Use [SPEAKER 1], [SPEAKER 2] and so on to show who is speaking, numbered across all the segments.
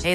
[SPEAKER 1] Hey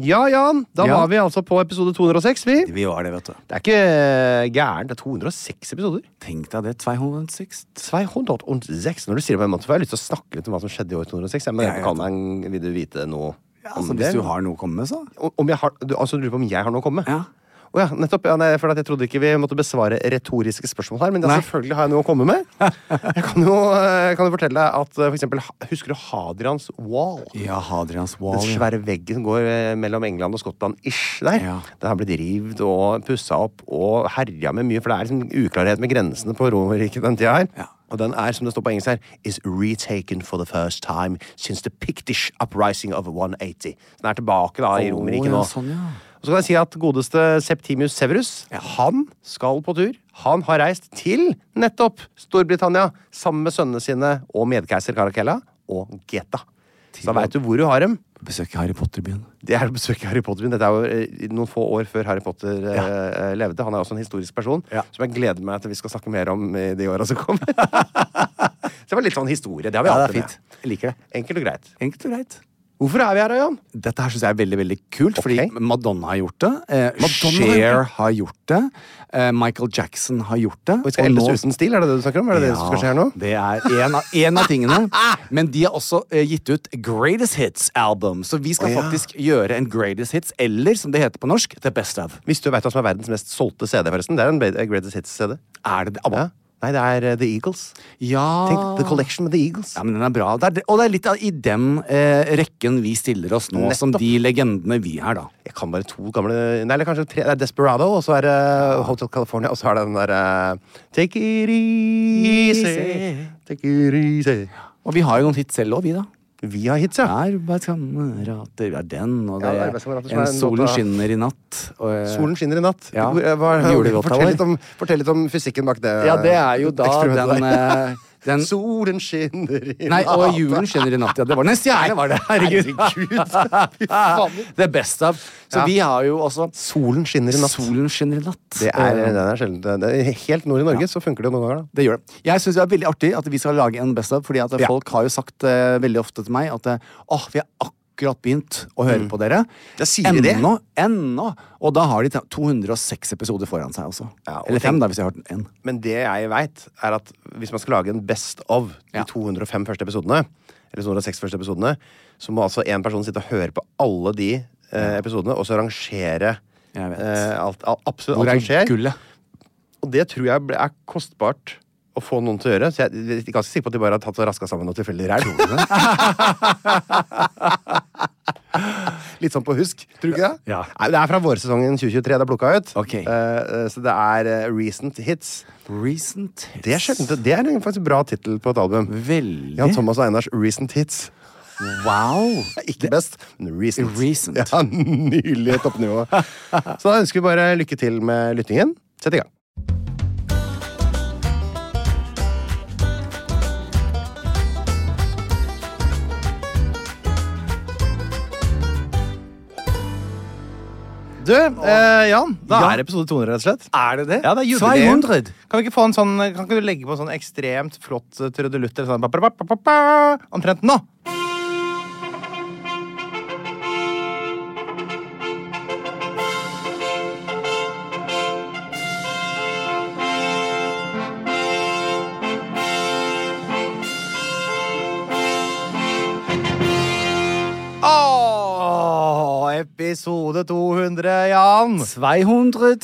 [SPEAKER 2] Ja, Jan, da
[SPEAKER 3] Ja.
[SPEAKER 2] var vi altså på episode 206, vi.
[SPEAKER 3] Vi var det, vet du.
[SPEAKER 2] Det er ikke gærent. Det er 206 episoder.
[SPEAKER 3] Tenk deg det. 206.
[SPEAKER 2] 206. Når du sier det på en måte, får jeg lyst til å snakke litt om hva som skjedde i år 206. Ja, men
[SPEAKER 3] Ja, jeg
[SPEAKER 2] jeg altså, kan meg, vil du vite noe
[SPEAKER 3] Ja,
[SPEAKER 2] om
[SPEAKER 3] så altså,
[SPEAKER 2] det?
[SPEAKER 3] hvis du har noe å komme med, så.
[SPEAKER 2] Om- Om jeg har, du, altså, du lurer på om jeg har noe å komme med?
[SPEAKER 3] Ja.
[SPEAKER 2] Å ja, nettopp. Ja, nei, for at jeg trodde ikke vi måtte besvare retoriske spørsmål her, men ja,
[SPEAKER 3] Nei.
[SPEAKER 2] selvfølgelig har jeg noe å komme med. Jeg kan jo, eh, kan jo fortelle deg at eh, for eksempel, ha- husker du Hadrians Wall?
[SPEAKER 3] Ja, Hadrians Wall.
[SPEAKER 2] Den
[SPEAKER 3] ja.
[SPEAKER 2] svære veggen går eh, mellom England og Skottland ish der.
[SPEAKER 3] Ja.
[SPEAKER 2] Den har blitt rivd og pussa opp og herja med mye, for det er liksom uklarhet med grensene på Romerriket den tida her.
[SPEAKER 3] Ja.
[SPEAKER 2] Og den er, som det står på engelsk her, is retaken for the first time since the Pictish uprising of 180. Så den er tilbake da i
[SPEAKER 3] Å,
[SPEAKER 2] Romerriket
[SPEAKER 3] ja,
[SPEAKER 2] nå.
[SPEAKER 3] sånn, ja.
[SPEAKER 2] Og så kan jeg si at godeste Septimius Severus, han skal på tur. Han har reist til nettopp Storbritannia sammen med sønnene sine og medkeiser Caracalla og Geta. Så
[SPEAKER 3] Til-
[SPEAKER 2] veit du hvor du har dem.
[SPEAKER 3] Besøk Harry Potter-byen.
[SPEAKER 2] Det er å besøke Harry Potter. Dette er jo eh, noen få år før Harry Potter eh, eh, levde. Han er også en historisk person
[SPEAKER 3] Ja.
[SPEAKER 2] som jeg gleder meg til vi skal snakke mer om i de åra som kommer. så det var litt sånn historie. Det har vi
[SPEAKER 3] Ja, det er
[SPEAKER 2] alltid med.
[SPEAKER 3] fint. Jeg liker det.
[SPEAKER 2] Enkelt og greit.
[SPEAKER 3] Enkelt og greit.
[SPEAKER 2] Hvorfor er vi her, da, Jan?
[SPEAKER 3] Dette her synes jeg er veldig veldig kult,
[SPEAKER 2] Ok.
[SPEAKER 3] fordi Madonna har gjort det. Eh,
[SPEAKER 2] Madonna har gjort
[SPEAKER 3] Cher
[SPEAKER 2] det?
[SPEAKER 3] har gjort det. Eh, Michael Jackson har gjort det.
[SPEAKER 2] Og vi skal eldes uten stil, er det det du snakker om? Er det det som skal skje her nå?
[SPEAKER 3] Det er en av, en av tingene. Men de har også eh, gitt ut Greatest Hits-album. Så vi skal
[SPEAKER 2] Å, ja.
[SPEAKER 3] faktisk gjøre en Greatest Hits, eller som det heter på norsk, The Best Of.
[SPEAKER 2] Hvis du veit hva som er verdens mest solgte CD, forresten. Det er en be- Greatest Hits-CD.
[SPEAKER 3] Er det det? ABBA?
[SPEAKER 2] Ja. Nei, det er eh, The Eagles.
[SPEAKER 3] Ja.
[SPEAKER 2] Tenk The Collection med The Eagles.
[SPEAKER 3] Ah. Ja, men den er bra. Det er, det- og det er litt av, i den eh, rekken vi stiller oss nå, som
[SPEAKER 2] Nettopp.
[SPEAKER 3] de legendene vi er, da.
[SPEAKER 2] Jeg kan bare to gamle Nei, eller kanskje tre. Det er Desperado, og så er det eh, Hotel California, og så er det den derre Take it easy. Take it easy.
[SPEAKER 3] Og vi har jo noen hits selv òg, vi, da.
[SPEAKER 2] Vi har hits, ja.
[SPEAKER 3] Arbeidskamerater Vi er den, og det
[SPEAKER 2] Ja,
[SPEAKER 3] er
[SPEAKER 2] arbeidskamerater som
[SPEAKER 3] en
[SPEAKER 2] er en
[SPEAKER 3] solen
[SPEAKER 2] låta-
[SPEAKER 3] skinner i natt. Og, eh,
[SPEAKER 2] Solen skinner i natt.
[SPEAKER 3] Ja.
[SPEAKER 2] Hvor- eh, hva-
[SPEAKER 3] Julelåta
[SPEAKER 2] fortell,
[SPEAKER 3] vår.
[SPEAKER 2] litt om, fortell litt om fysikken bak det.
[SPEAKER 3] Ja, det er jo da
[SPEAKER 2] eksperimentet
[SPEAKER 3] den,
[SPEAKER 2] der.
[SPEAKER 3] eh, den
[SPEAKER 2] Solen skinner i
[SPEAKER 3] Nei,
[SPEAKER 2] natt.
[SPEAKER 3] og julen skinner i natt. Ja, det var den stjerne, var det. Herregud.
[SPEAKER 2] Herregud. Fy faen.
[SPEAKER 3] Det er best av. Så
[SPEAKER 2] Ja.
[SPEAKER 3] vi har jo også
[SPEAKER 2] Solen skinner i natt.
[SPEAKER 3] Solen skinner i natt.
[SPEAKER 2] Det er,
[SPEAKER 3] Eh,
[SPEAKER 2] den er sjelden det er Helt nord i Norge så funker det jo noen ganger, da.
[SPEAKER 3] Det gjør det. Jeg syns det er veldig artig at vi skal lage en Best of, fordi at
[SPEAKER 2] Ja.
[SPEAKER 3] folk har jo sagt eh, veldig ofte til meg at eh, åh, vi har akkurat begynt å høre på dere.
[SPEAKER 2] Ja, Mm. sier de det?
[SPEAKER 3] Ennå. Ennå. Og da har de ta- 206 episoder foran seg også.
[SPEAKER 2] Ja, og
[SPEAKER 3] Eller fem,
[SPEAKER 2] tenk-
[SPEAKER 3] da, hvis jeg har hørt én.
[SPEAKER 2] Men det jeg veit, er at hvis man skal lage en best of de
[SPEAKER 3] Ja.
[SPEAKER 2] 205 første episodene, eller 206 første episodene, så må altså én person sitte og høre på alle de eh, episodene, og så rangere
[SPEAKER 3] Jeg vet.
[SPEAKER 2] eh, alt, al- absolutt
[SPEAKER 3] Hvor
[SPEAKER 2] alt
[SPEAKER 3] er
[SPEAKER 2] som skjer.
[SPEAKER 3] gullet?
[SPEAKER 2] Og det tror jeg ble- er kostbart å få noen til å gjøre. Så jeg er ganske sikker på at de bare har tatt og raska sammen noe tilfeldig ræl. Litt sånn på husk, tror du ikke det?
[SPEAKER 3] Ja.
[SPEAKER 2] Nei, det er fra vårsesongen 2023 det er plukka ut.
[SPEAKER 3] Ok.
[SPEAKER 2] Eh, eh, så det er eh, recent hits.
[SPEAKER 3] Recent hits.
[SPEAKER 2] Det er, sjelden, det er en faktisk bra tittel på et album.
[SPEAKER 3] Veldig.
[SPEAKER 2] Jan Thomas og Einars Recent Hits.
[SPEAKER 3] Wow!
[SPEAKER 2] Ikke best, men recent.
[SPEAKER 3] Recent.
[SPEAKER 2] Ja, Nylig toppnivå. Så da ønsker vi bare lykke til med lyttingen. Sett i gang.
[SPEAKER 3] Du, eh, Jan, da
[SPEAKER 2] Ja.
[SPEAKER 3] er det episode 200, rett og slett.
[SPEAKER 2] Er det det?
[SPEAKER 3] Ja, det er jubileum.
[SPEAKER 2] 200.
[SPEAKER 3] Kan vi ikke få en sånn, kan ikke du legge på en sånn ekstremt flott eh, trudelutt eller sånn, ba, ba, ba, ba, ba, omtrent nå? Åh, episode 200, Jan.
[SPEAKER 2] 200.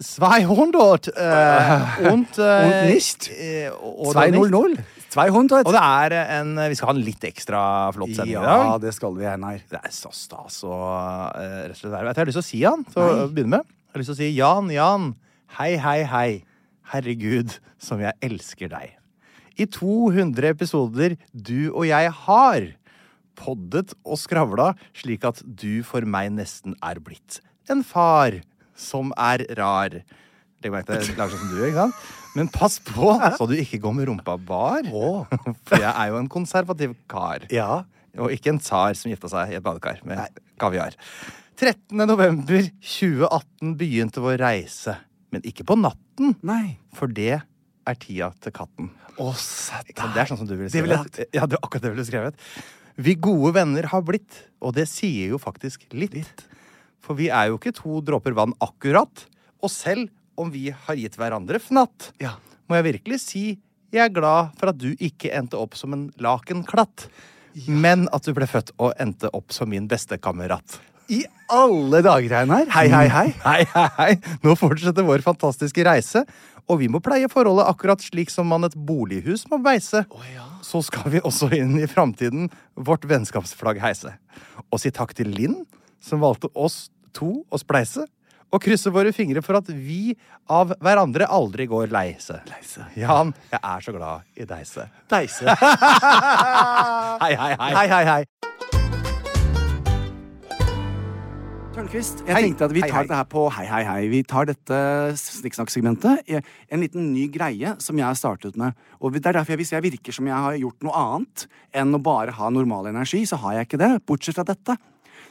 [SPEAKER 3] 200 eh, und, eh,
[SPEAKER 2] und nicht.
[SPEAKER 3] eh, og det er nicht.
[SPEAKER 2] 200. 200.
[SPEAKER 3] Og det er en Vi skal ha en litt ekstra flott sending i
[SPEAKER 2] Ja,
[SPEAKER 3] dag.
[SPEAKER 2] det skal vi gjerne her.
[SPEAKER 3] Det er så stas å eh, rett og slett være med. Jeg har lyst til å si han til å begynne med. Jeg har lyst til å si Jan, Jan. Hei, hei, hei. Herregud, som jeg elsker deg. I 200 episoder du og jeg har poddet og skravla slik at du for meg nesten er blitt en far som er rar. Legg merke til jeg lager sånn som du, ikke sant? Men pass på så du ikke går med rumpa bar. For jeg er jo en konservativ kar.
[SPEAKER 2] Ja.
[SPEAKER 3] Og ikke en tsar som gifta seg i et badekar med kaviar. 13. november 2018 begynte vår reise. Men ikke på natten,
[SPEAKER 2] Nei.
[SPEAKER 3] for det er tida til katten.
[SPEAKER 2] Å, sett
[SPEAKER 3] Ja, det er sånn som du ville
[SPEAKER 2] Det ville jeg
[SPEAKER 3] skrevet. ja, det var akkurat det ville du skrevet. Vi gode venner har blitt, og det sier jo faktisk litt. For vi er jo ikke to dråper vann akkurat. Og selv om vi har gitt hverandre fnatt,
[SPEAKER 2] Ja.
[SPEAKER 3] må jeg virkelig si jeg er glad for at du ikke endte opp som en lakenklatt. Men at du ble født og endte opp som min bestekamerat.
[SPEAKER 2] I alle dager, Einar. Hei, hei, hei.
[SPEAKER 3] Mm. Hei, hei, hei. Nå fortsetter vår fantastiske reise, og vi må pleie forholdet akkurat slik som man et bolighus må beise. Så skal vi også inn i framtiden vårt vennskapsflagg heise. Og si takk til Linn, som valgte oss to å spleise. Og krysse våre fingre for at vi av hverandre aldri går leise. leise. Jan, jeg er så glad i deise.
[SPEAKER 2] Deise.
[SPEAKER 3] Hei, hei, hei.
[SPEAKER 2] Hei, hei, hei. Tørnquist, jeg
[SPEAKER 3] Hei.
[SPEAKER 2] tenkte at vi
[SPEAKER 3] Hei,
[SPEAKER 2] tar
[SPEAKER 3] hei.
[SPEAKER 2] dette her på Hei, hei, hei. Vi tar dette snikksnakksegmentet. i En liten ny greie som jeg har startet med. Og det er derfor jeg, Hvis jeg virker som jeg har gjort noe annet enn å bare ha normal energi, så har jeg ikke det. Bortsett fra dette.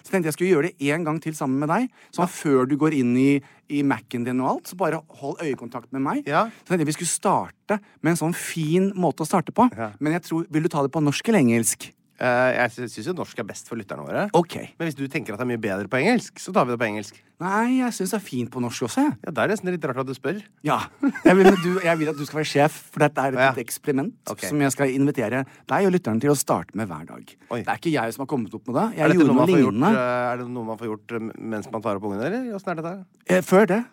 [SPEAKER 2] Så tenkte jeg skulle gjøre det én gang til sammen med deg. Sånn at før du går inn i, i Mac-en din og alt, så bare hold øyekontakt med meg.
[SPEAKER 3] Ja.
[SPEAKER 2] Så tenkte jeg vi skulle starte med en sånn fin måte å starte på. Men jeg tror, vil du ta det på norsk eller engelsk?
[SPEAKER 3] Eh, jeg syns jo norsk er best for lytterne våre.
[SPEAKER 2] Ok.
[SPEAKER 3] Men hvis du tenker at det er mye bedre på engelsk, så tar vi det på engelsk.
[SPEAKER 2] Nei, jeg syns det er fint på norsk også. jeg.
[SPEAKER 3] Ja, Det er nesten litt rart at du spør.
[SPEAKER 2] Ja. Jeg vil, du, jeg vil at du skal være sjef, for dette er et
[SPEAKER 3] Ja.
[SPEAKER 2] lite eksperiment
[SPEAKER 3] Ok.
[SPEAKER 2] som jeg skal invitere deg og lytterne til å starte med hver dag.
[SPEAKER 3] Oi.
[SPEAKER 2] Det er ikke jeg som har kommet opp med det.
[SPEAKER 3] Er
[SPEAKER 2] Jeg
[SPEAKER 3] dette
[SPEAKER 2] gjorde
[SPEAKER 3] noe
[SPEAKER 2] noe
[SPEAKER 3] man får gjort,
[SPEAKER 2] lignende
[SPEAKER 3] eh, er det noe man får gjort eh, mens man tar opp ungene, eller? Åssen er dette?
[SPEAKER 2] eh, før det.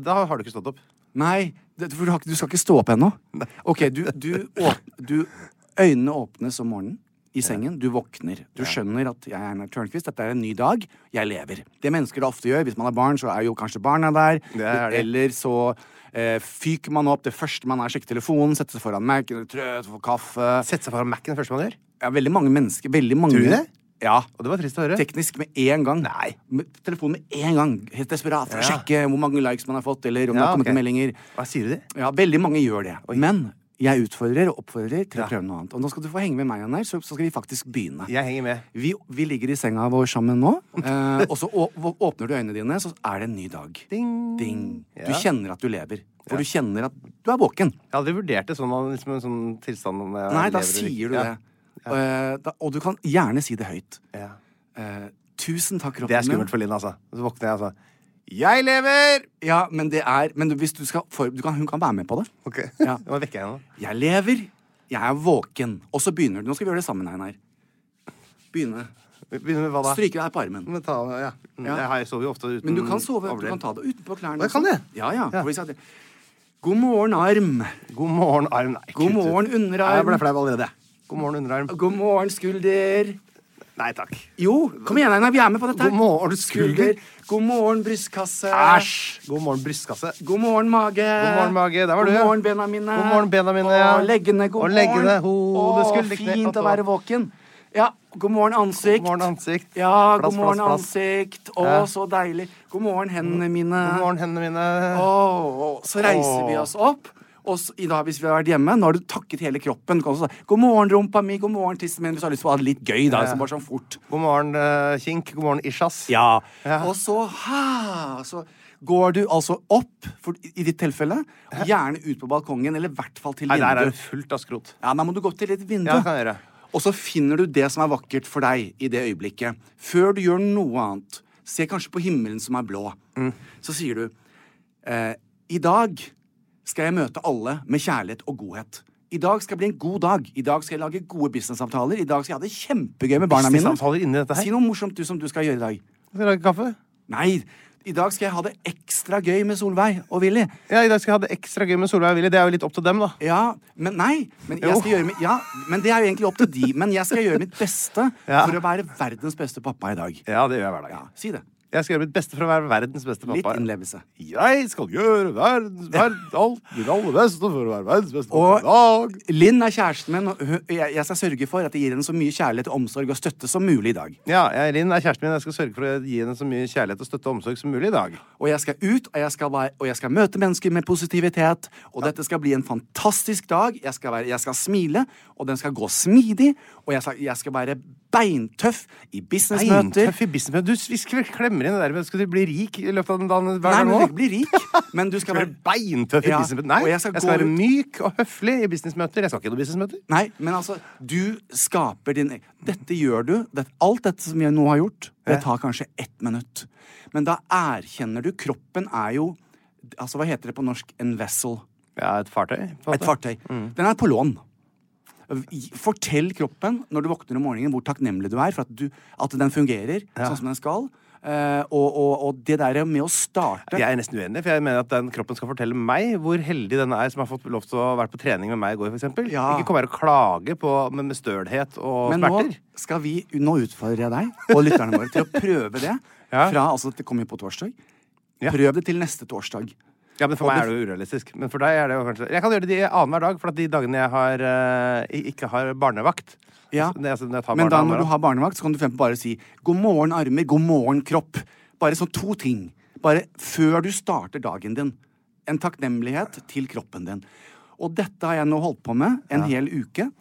[SPEAKER 3] Da har du ikke stått opp.
[SPEAKER 2] Nei, det, for du, har, ikke- du skal ikke stå opp ennå. Ok, du, du, åp, du Øynene åpnes om morgenen i sengen. Du våkner. Du skjønner at jeg er Einar Tørnquist. Dette er en ny dag. Jeg lever. Det mennesker ofte gjør hvis man har barn, så er jo kanskje barna der.
[SPEAKER 3] er de.
[SPEAKER 2] Eller så eh, fyker man opp. Det første man er, sjekker telefonen, setter seg foran Mac, er trøtt, får kaffe
[SPEAKER 3] Sette seg foran Mac-en det første man gjør.
[SPEAKER 2] ja, Veldig mange mennesker. Veldig mange.
[SPEAKER 3] Tror du det?
[SPEAKER 2] Ja.
[SPEAKER 3] Og det var trist å høre.
[SPEAKER 2] Teknisk med en gang. Nei. Med telefonen med en gang. Helt desperat for å
[SPEAKER 3] Ja.
[SPEAKER 2] sjekke hvor mange likes man har fått, eller om det
[SPEAKER 3] Ja,
[SPEAKER 2] har kommet
[SPEAKER 3] ok.
[SPEAKER 2] noen meldinger.
[SPEAKER 3] Hva sier du? det?
[SPEAKER 2] Ja, veldig mange gjør det. Men jeg utfordrer og oppfordrer til å prøve noe annet. Og nå skal du få henge med meg, Anner, så, så skal vi faktisk begynne.
[SPEAKER 3] Jeg henger med.
[SPEAKER 2] Vi, vi ligger i senga vår sammen nå, eh, og så å, å- åpner du øynene dine, så er det en ny dag.
[SPEAKER 3] Ding.
[SPEAKER 2] Ding.
[SPEAKER 3] Ja.
[SPEAKER 2] Du kjenner at du lever. For du kjenner at du er våken.
[SPEAKER 3] Jeg har aldri vurdert det sånn, man- liksom en sånn tilstand om jeg
[SPEAKER 2] Nei, da
[SPEAKER 3] lever eller
[SPEAKER 2] sier
[SPEAKER 3] ikke.
[SPEAKER 2] du
[SPEAKER 3] Ja.
[SPEAKER 2] det. Eh, da, og du kan gjerne si det høyt.
[SPEAKER 3] Ja.
[SPEAKER 2] Eh, tusen takk, kroppen
[SPEAKER 3] Det er skummelt for Linn, altså. Så våkner jeg og altså. Jeg lever!
[SPEAKER 2] Ja, men det er Men du- hvis du skal for, du kan, Hun kan være med på det.
[SPEAKER 3] Ok,
[SPEAKER 2] Ja.
[SPEAKER 3] Nå vekker jeg henne.
[SPEAKER 2] Jeg lever, jeg er våken. Og så begynner du. Nå skal vi gjøre det sammen, Einar. Begynne.
[SPEAKER 3] Vi Begynner med hva da?
[SPEAKER 2] Stryke deg på armen.
[SPEAKER 3] Men Ta, ja.
[SPEAKER 2] Ja.
[SPEAKER 3] Jeg har- Jeg sover jo ofte uten
[SPEAKER 2] Men du kan sove. Du
[SPEAKER 3] overdel.
[SPEAKER 2] kan ta det utenpå klærne.
[SPEAKER 3] Jeg kan
[SPEAKER 2] også.
[SPEAKER 3] det.
[SPEAKER 2] Ja, ja.
[SPEAKER 3] Ja.
[SPEAKER 2] for hvis jeg- God morgen, arm.
[SPEAKER 3] God morgen, arm. Nei,
[SPEAKER 2] God
[SPEAKER 3] kutt ut.
[SPEAKER 2] morgen, underarm.
[SPEAKER 3] Nei, Jeg ble flau allerede. God morgen, underarm.
[SPEAKER 2] God morgen, skulder.
[SPEAKER 3] Nei takk.
[SPEAKER 2] Jo, kom igjen, Einar. Vi er med på dette. her.
[SPEAKER 3] God morgen, skulder.
[SPEAKER 2] God morgen, brystkasse.
[SPEAKER 3] Æsj! God morgen, brystkasse.
[SPEAKER 2] God morgen, mage.
[SPEAKER 3] God morgen, mage. Der var
[SPEAKER 2] God
[SPEAKER 3] du, ja.
[SPEAKER 2] morgen, bena mine.
[SPEAKER 3] God morgen, bena mine,
[SPEAKER 2] Og
[SPEAKER 3] ja.
[SPEAKER 2] leggene. God
[SPEAKER 3] Og leggene.
[SPEAKER 2] morgen.
[SPEAKER 3] Hode,
[SPEAKER 2] Å,
[SPEAKER 3] skulder, kne,
[SPEAKER 2] fint
[SPEAKER 3] og
[SPEAKER 2] å
[SPEAKER 3] tå.
[SPEAKER 2] være våken. Ja, god morgen, ansikt.
[SPEAKER 3] God morgen, ansikt.
[SPEAKER 2] Ja,
[SPEAKER 3] Plass,
[SPEAKER 2] god morgen,
[SPEAKER 3] plass, plass.
[SPEAKER 2] ansikt. Å,
[SPEAKER 3] Ja. Mm.
[SPEAKER 2] så deilig. God morgen, hendene mine.
[SPEAKER 3] God morgen, hendene mine.
[SPEAKER 2] Å, så reiser vi oss opp. Og så, i dag, hvis vi har vært hjemme, nå har du takket hele kroppen. Du kan også si 'God morgen, rumpa mi', 'God morgen, tissen min', hvis du har lyst til å ha det litt gøy. da, så bare sånn fort.
[SPEAKER 4] God morgen, eh, Kink. God morgen, Ishas.
[SPEAKER 2] Ja. Og så, ha, så går du altså opp, for, i ditt tilfelle, og gjerne ut på balkongen, eller i hvert fall til
[SPEAKER 4] Nei, der er det
[SPEAKER 2] vinduet.
[SPEAKER 4] fullt av skrot.
[SPEAKER 2] Ja, da må du gå til et vindu.
[SPEAKER 4] Ja, det kan jeg gjøre.
[SPEAKER 2] og så finner du det som er vakkert for deg i det øyeblikket. Før du gjør noe annet. Se kanskje på himmelen som er blå.
[SPEAKER 4] Mm.
[SPEAKER 2] Så sier du eh, I dag skal jeg møte alle med kjærlighet og godhet. I dag skal bli en god dag. I dag skal jeg lage gode businessavtaler. I dag skal jeg ha det kjempegøy med barna mine.
[SPEAKER 4] Businessavtaler inni dette her?
[SPEAKER 2] Si noe morsomt du som du skal gjøre i dag.
[SPEAKER 4] Skal du lage kaffe?
[SPEAKER 2] Nei, i dag skal jeg ha det ekstra gøy med Solveig og Willy.
[SPEAKER 4] Ja, I dag skal jeg ha det ekstra gøy med Solveig og Willy. Det er jo litt opp til dem, da.
[SPEAKER 2] Ja, men nei. Men, jeg skal
[SPEAKER 4] Jo.
[SPEAKER 2] gjøre, mi- ja, men det er jo egentlig opp til de. Men jeg skal gjøre mitt beste
[SPEAKER 4] Ja.
[SPEAKER 2] for å være verdens beste pappa i dag.
[SPEAKER 4] Ja, det gjør jeg hver dag.
[SPEAKER 2] Ja, si det.
[SPEAKER 4] Jeg skal gjøre mitt beste for å være verdens beste
[SPEAKER 2] Litt
[SPEAKER 4] pappa.
[SPEAKER 2] innlevelse.
[SPEAKER 3] Jeg skal gjøre verdens verd, alt mitt aller beste for å være verdens beste
[SPEAKER 2] Og-
[SPEAKER 3] dag.
[SPEAKER 2] Linn er kjæresten min, og hun- jeg jeg skal sørge for at jeg gir henne så mye kjærlighet, omsorg og støtte som mulig i dag.
[SPEAKER 4] Ja, jeg, Linn er kjæresten min. Jeg skal sørge for å gi henne så mye kjærlighet og støtte og omsorg som mulig i dag.
[SPEAKER 2] Og jeg skal ut, og jeg skal, være, og jeg skal møte mennesker med positivitet. Og dette skal bli en fantastisk dag. Jeg skal, være, jeg skal smile, og den skal gå smidig. Og jeg skal, jeg skal være beintøff i businessmøter.
[SPEAKER 4] Beintøff i business, men Du visker, klemmer inn det der med skal du bli rik i løpet av den dagen hver
[SPEAKER 2] Nei,
[SPEAKER 4] dag
[SPEAKER 2] men du
[SPEAKER 4] nå?
[SPEAKER 2] vil ikke bli rik. Men du skal
[SPEAKER 4] Skal
[SPEAKER 2] være
[SPEAKER 4] være beintøff i
[SPEAKER 2] Ja,
[SPEAKER 4] businessmøter? Nei,
[SPEAKER 2] og
[SPEAKER 4] jeg
[SPEAKER 2] jeg skal
[SPEAKER 4] skal,
[SPEAKER 2] gå
[SPEAKER 4] være
[SPEAKER 2] ut-
[SPEAKER 4] myk og høflig i businessmøter. Jeg skal ikke i noen businessmøter.
[SPEAKER 2] Nei, men altså, du skaper din e-, Dette gjør du. Det, alt dette som jeg nå har gjort, det tar kanskje ett minutt. Men da erkjenner du Kroppen er jo Altså, hva heter det på norsk? En vessel.
[SPEAKER 4] Ja, Mm. et fartøy. på en måte.
[SPEAKER 2] Et fartøy. Den er på lån. I- Fortell kroppen når du våkner om morgenen, hvor takknemlig du er for at, du, at den fungerer sånn som den skal. Eh, og, og, og det der med å starte
[SPEAKER 4] Jeg er nesten uenig, for jeg mener at den kroppen skal fortelle meg hvor heldig den er som har fått lov til å være på trening med meg i går, for eksempel.
[SPEAKER 2] Ja.
[SPEAKER 4] Ikke kom her og klage på, med, med stølhet og
[SPEAKER 2] Men nå,
[SPEAKER 4] smerter.
[SPEAKER 2] skal vi, nå utfordrer jeg deg og lytterne våre til å prøve det.
[SPEAKER 4] Ja.
[SPEAKER 2] Fra, altså, det kommer jo på torsdag.
[SPEAKER 4] Ja.
[SPEAKER 2] Prøv det til neste torsdag.
[SPEAKER 4] Ja, men For meg er det jo urealistisk. Men for deg er det jo kanskje Jeg kan gjøre det i annenhver dag, for at de dagene jeg har, eh, ikke har barnevakt
[SPEAKER 2] Ja.
[SPEAKER 4] Altså, det- altså, når jeg tar barna
[SPEAKER 2] Men da når
[SPEAKER 4] annenhver
[SPEAKER 2] du har barnevakt, så kan du for eksempel bare si 'god morgen, armer', 'god morgen, kropp'. Bare sånn to ting. Bare før du starter dagen din. En takknemlighet til kroppen din. Og dette har jeg nå holdt på med en hel uke.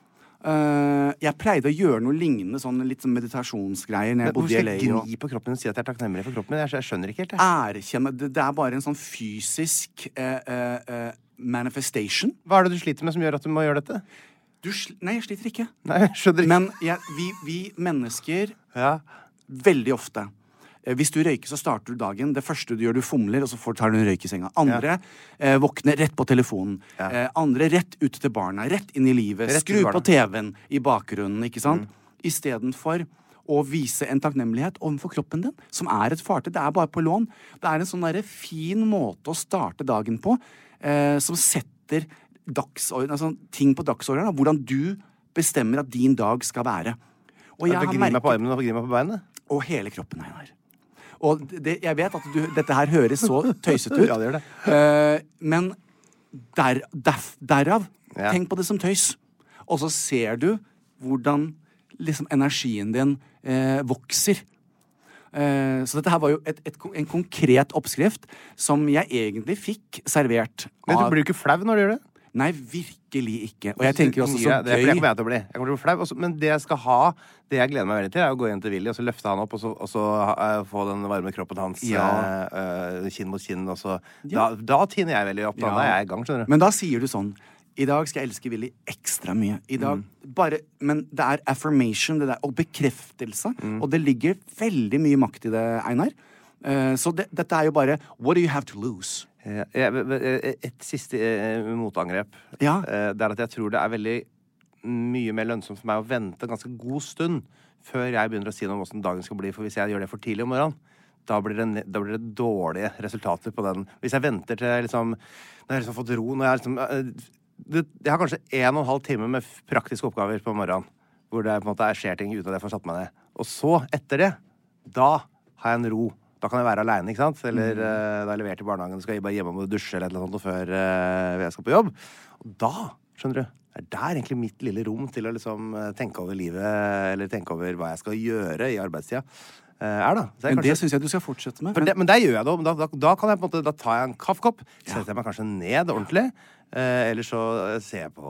[SPEAKER 2] Eh, jeg pleide å gjøre noe lignende, sånn litt sånn meditasjonsgreier. Når jeg
[SPEAKER 4] dag.
[SPEAKER 2] Ah.
[SPEAKER 4] Hvorfor
[SPEAKER 2] bodde i
[SPEAKER 4] skal jeg
[SPEAKER 2] LA, og...
[SPEAKER 4] gni på kroppen min og si at jeg er takknemlig for kroppen min? Jeg, jeg skjønner ikke helt, jeg.
[SPEAKER 2] erkjenne det, det er bare en sånn fysisk eh, eh, eh, manifestation.
[SPEAKER 4] Hva er det du sliter med som gjør at du må gjøre dette?
[SPEAKER 2] Du sl Nei, jeg sliter ikke.
[SPEAKER 4] Nei, jeg skjønner ikke.
[SPEAKER 2] Men jeg, vi, vi mennesker
[SPEAKER 4] Ja.
[SPEAKER 2] veldig ofte eh, hvis du røyker, så starter du dagen. Det første du gjør, du fomler, og så får- tar du en røyk i senga. Andre eh, våkner rett på telefonen. Eh, andre rett ut til barna. Rett inn i livet.
[SPEAKER 4] Rett
[SPEAKER 2] Skru
[SPEAKER 4] til barna. Mm.
[SPEAKER 2] på TV-en i bakgrunnen, ikke sant? Istedenfor å vise en takknemlighet overfor kroppen din, som er et fartøy. Det er bare på lån. Det er en sånn derre fin måte å starte dagen på, eh, som setter dagsorden, altså, ting på dagsordenen. da. Hvordan du bestemmer at din dag skal være. Og
[SPEAKER 4] Jeg gni meg på armen og gni meg på beinet.
[SPEAKER 2] og hele kroppen, Einar. Og det, jeg vet at du, dette her høres så tøysete ut,
[SPEAKER 4] Ja, det gjør det.
[SPEAKER 2] Eh, men der, derf, derav
[SPEAKER 4] Ja.
[SPEAKER 2] Tenk på det som tøys. Og så ser du hvordan liksom, energien din eh, vokser. Eh, så dette her var jo et, et, kon- en konkret oppskrift som jeg egentlig fikk servert
[SPEAKER 4] Men du
[SPEAKER 2] av
[SPEAKER 4] blir jo ikke flau når du gjør det.
[SPEAKER 2] Nei, virkelig ikke. Og jeg tenker også
[SPEAKER 4] Gir
[SPEAKER 2] så
[SPEAKER 4] jeg- Det, for det
[SPEAKER 2] gøy.
[SPEAKER 4] kommer jeg til å bli. Jeg kommer til å bli flau. og så- Men det jeg skal ha, det jeg gleder meg veldig til, er å gå hjem til Willy og så løfte han opp, og så, og så eh, få den varme kroppen hans
[SPEAKER 2] Ja.
[SPEAKER 4] eh, eh, kinn mot kinn. Og så, da, da tiner jeg veldig opp. Da,
[SPEAKER 2] Ja.
[SPEAKER 4] da er jeg i gang, skjønner du.
[SPEAKER 2] Men da sier du sånn I dag skal jeg elske Willy ekstra mye. I dag,
[SPEAKER 4] Mm.
[SPEAKER 2] bare, men det er affirmation det der, og bekreftelse.
[SPEAKER 4] Mm.
[SPEAKER 2] Og det ligger veldig mye makt i det, Einar. Eh, så det, dette er jo bare What do you have to lose?
[SPEAKER 4] Ja, Eh, jeg- jeg- Et siste eh, motangrep.
[SPEAKER 2] Ja.
[SPEAKER 4] Eh, Det er at jeg tror det er veldig mye mer lønnsomt for meg å vente en ganske god stund før jeg begynner å si noe om åssen dagen skal bli. For hvis jeg gjør det for tidlig om morgenen, da blir det, ne- da blir det dårlige resultater på den. Hvis jeg venter til jeg liksom, når jeg har liksom fått ro når jeg, liksom, eh, det, jeg har kanskje en og en halv time med f- praktiske oppgaver på morgenen. Hvor det på en måte skjer ting uten at jeg får satt meg ned. Og så, etter det, da har jeg en ro. Da kan jeg være aleine, ikke sant?
[SPEAKER 2] Mm.
[SPEAKER 4] Eller eh, da er jeg levert i barnehagen, skal jeg bare hjemme og dusje eller et eller annet sånt før eh, jeg skal på jobb. Og da, skjønner du, er der egentlig mitt lille rom til å liksom eh, tenke over livet, eller tenke over hva jeg skal gjøre i arbeidstida, eh, er da. Så jeg
[SPEAKER 2] Men det
[SPEAKER 4] kanskje-
[SPEAKER 2] syns jeg du skal fortsette med.
[SPEAKER 4] for det, men der gjør jeg det. og Da, da, da, kan jeg på en måte, da tar jeg en kaffekopp, setter jeg meg kanskje ned ordentlig,
[SPEAKER 2] Eh, eller så eh, ser jeg på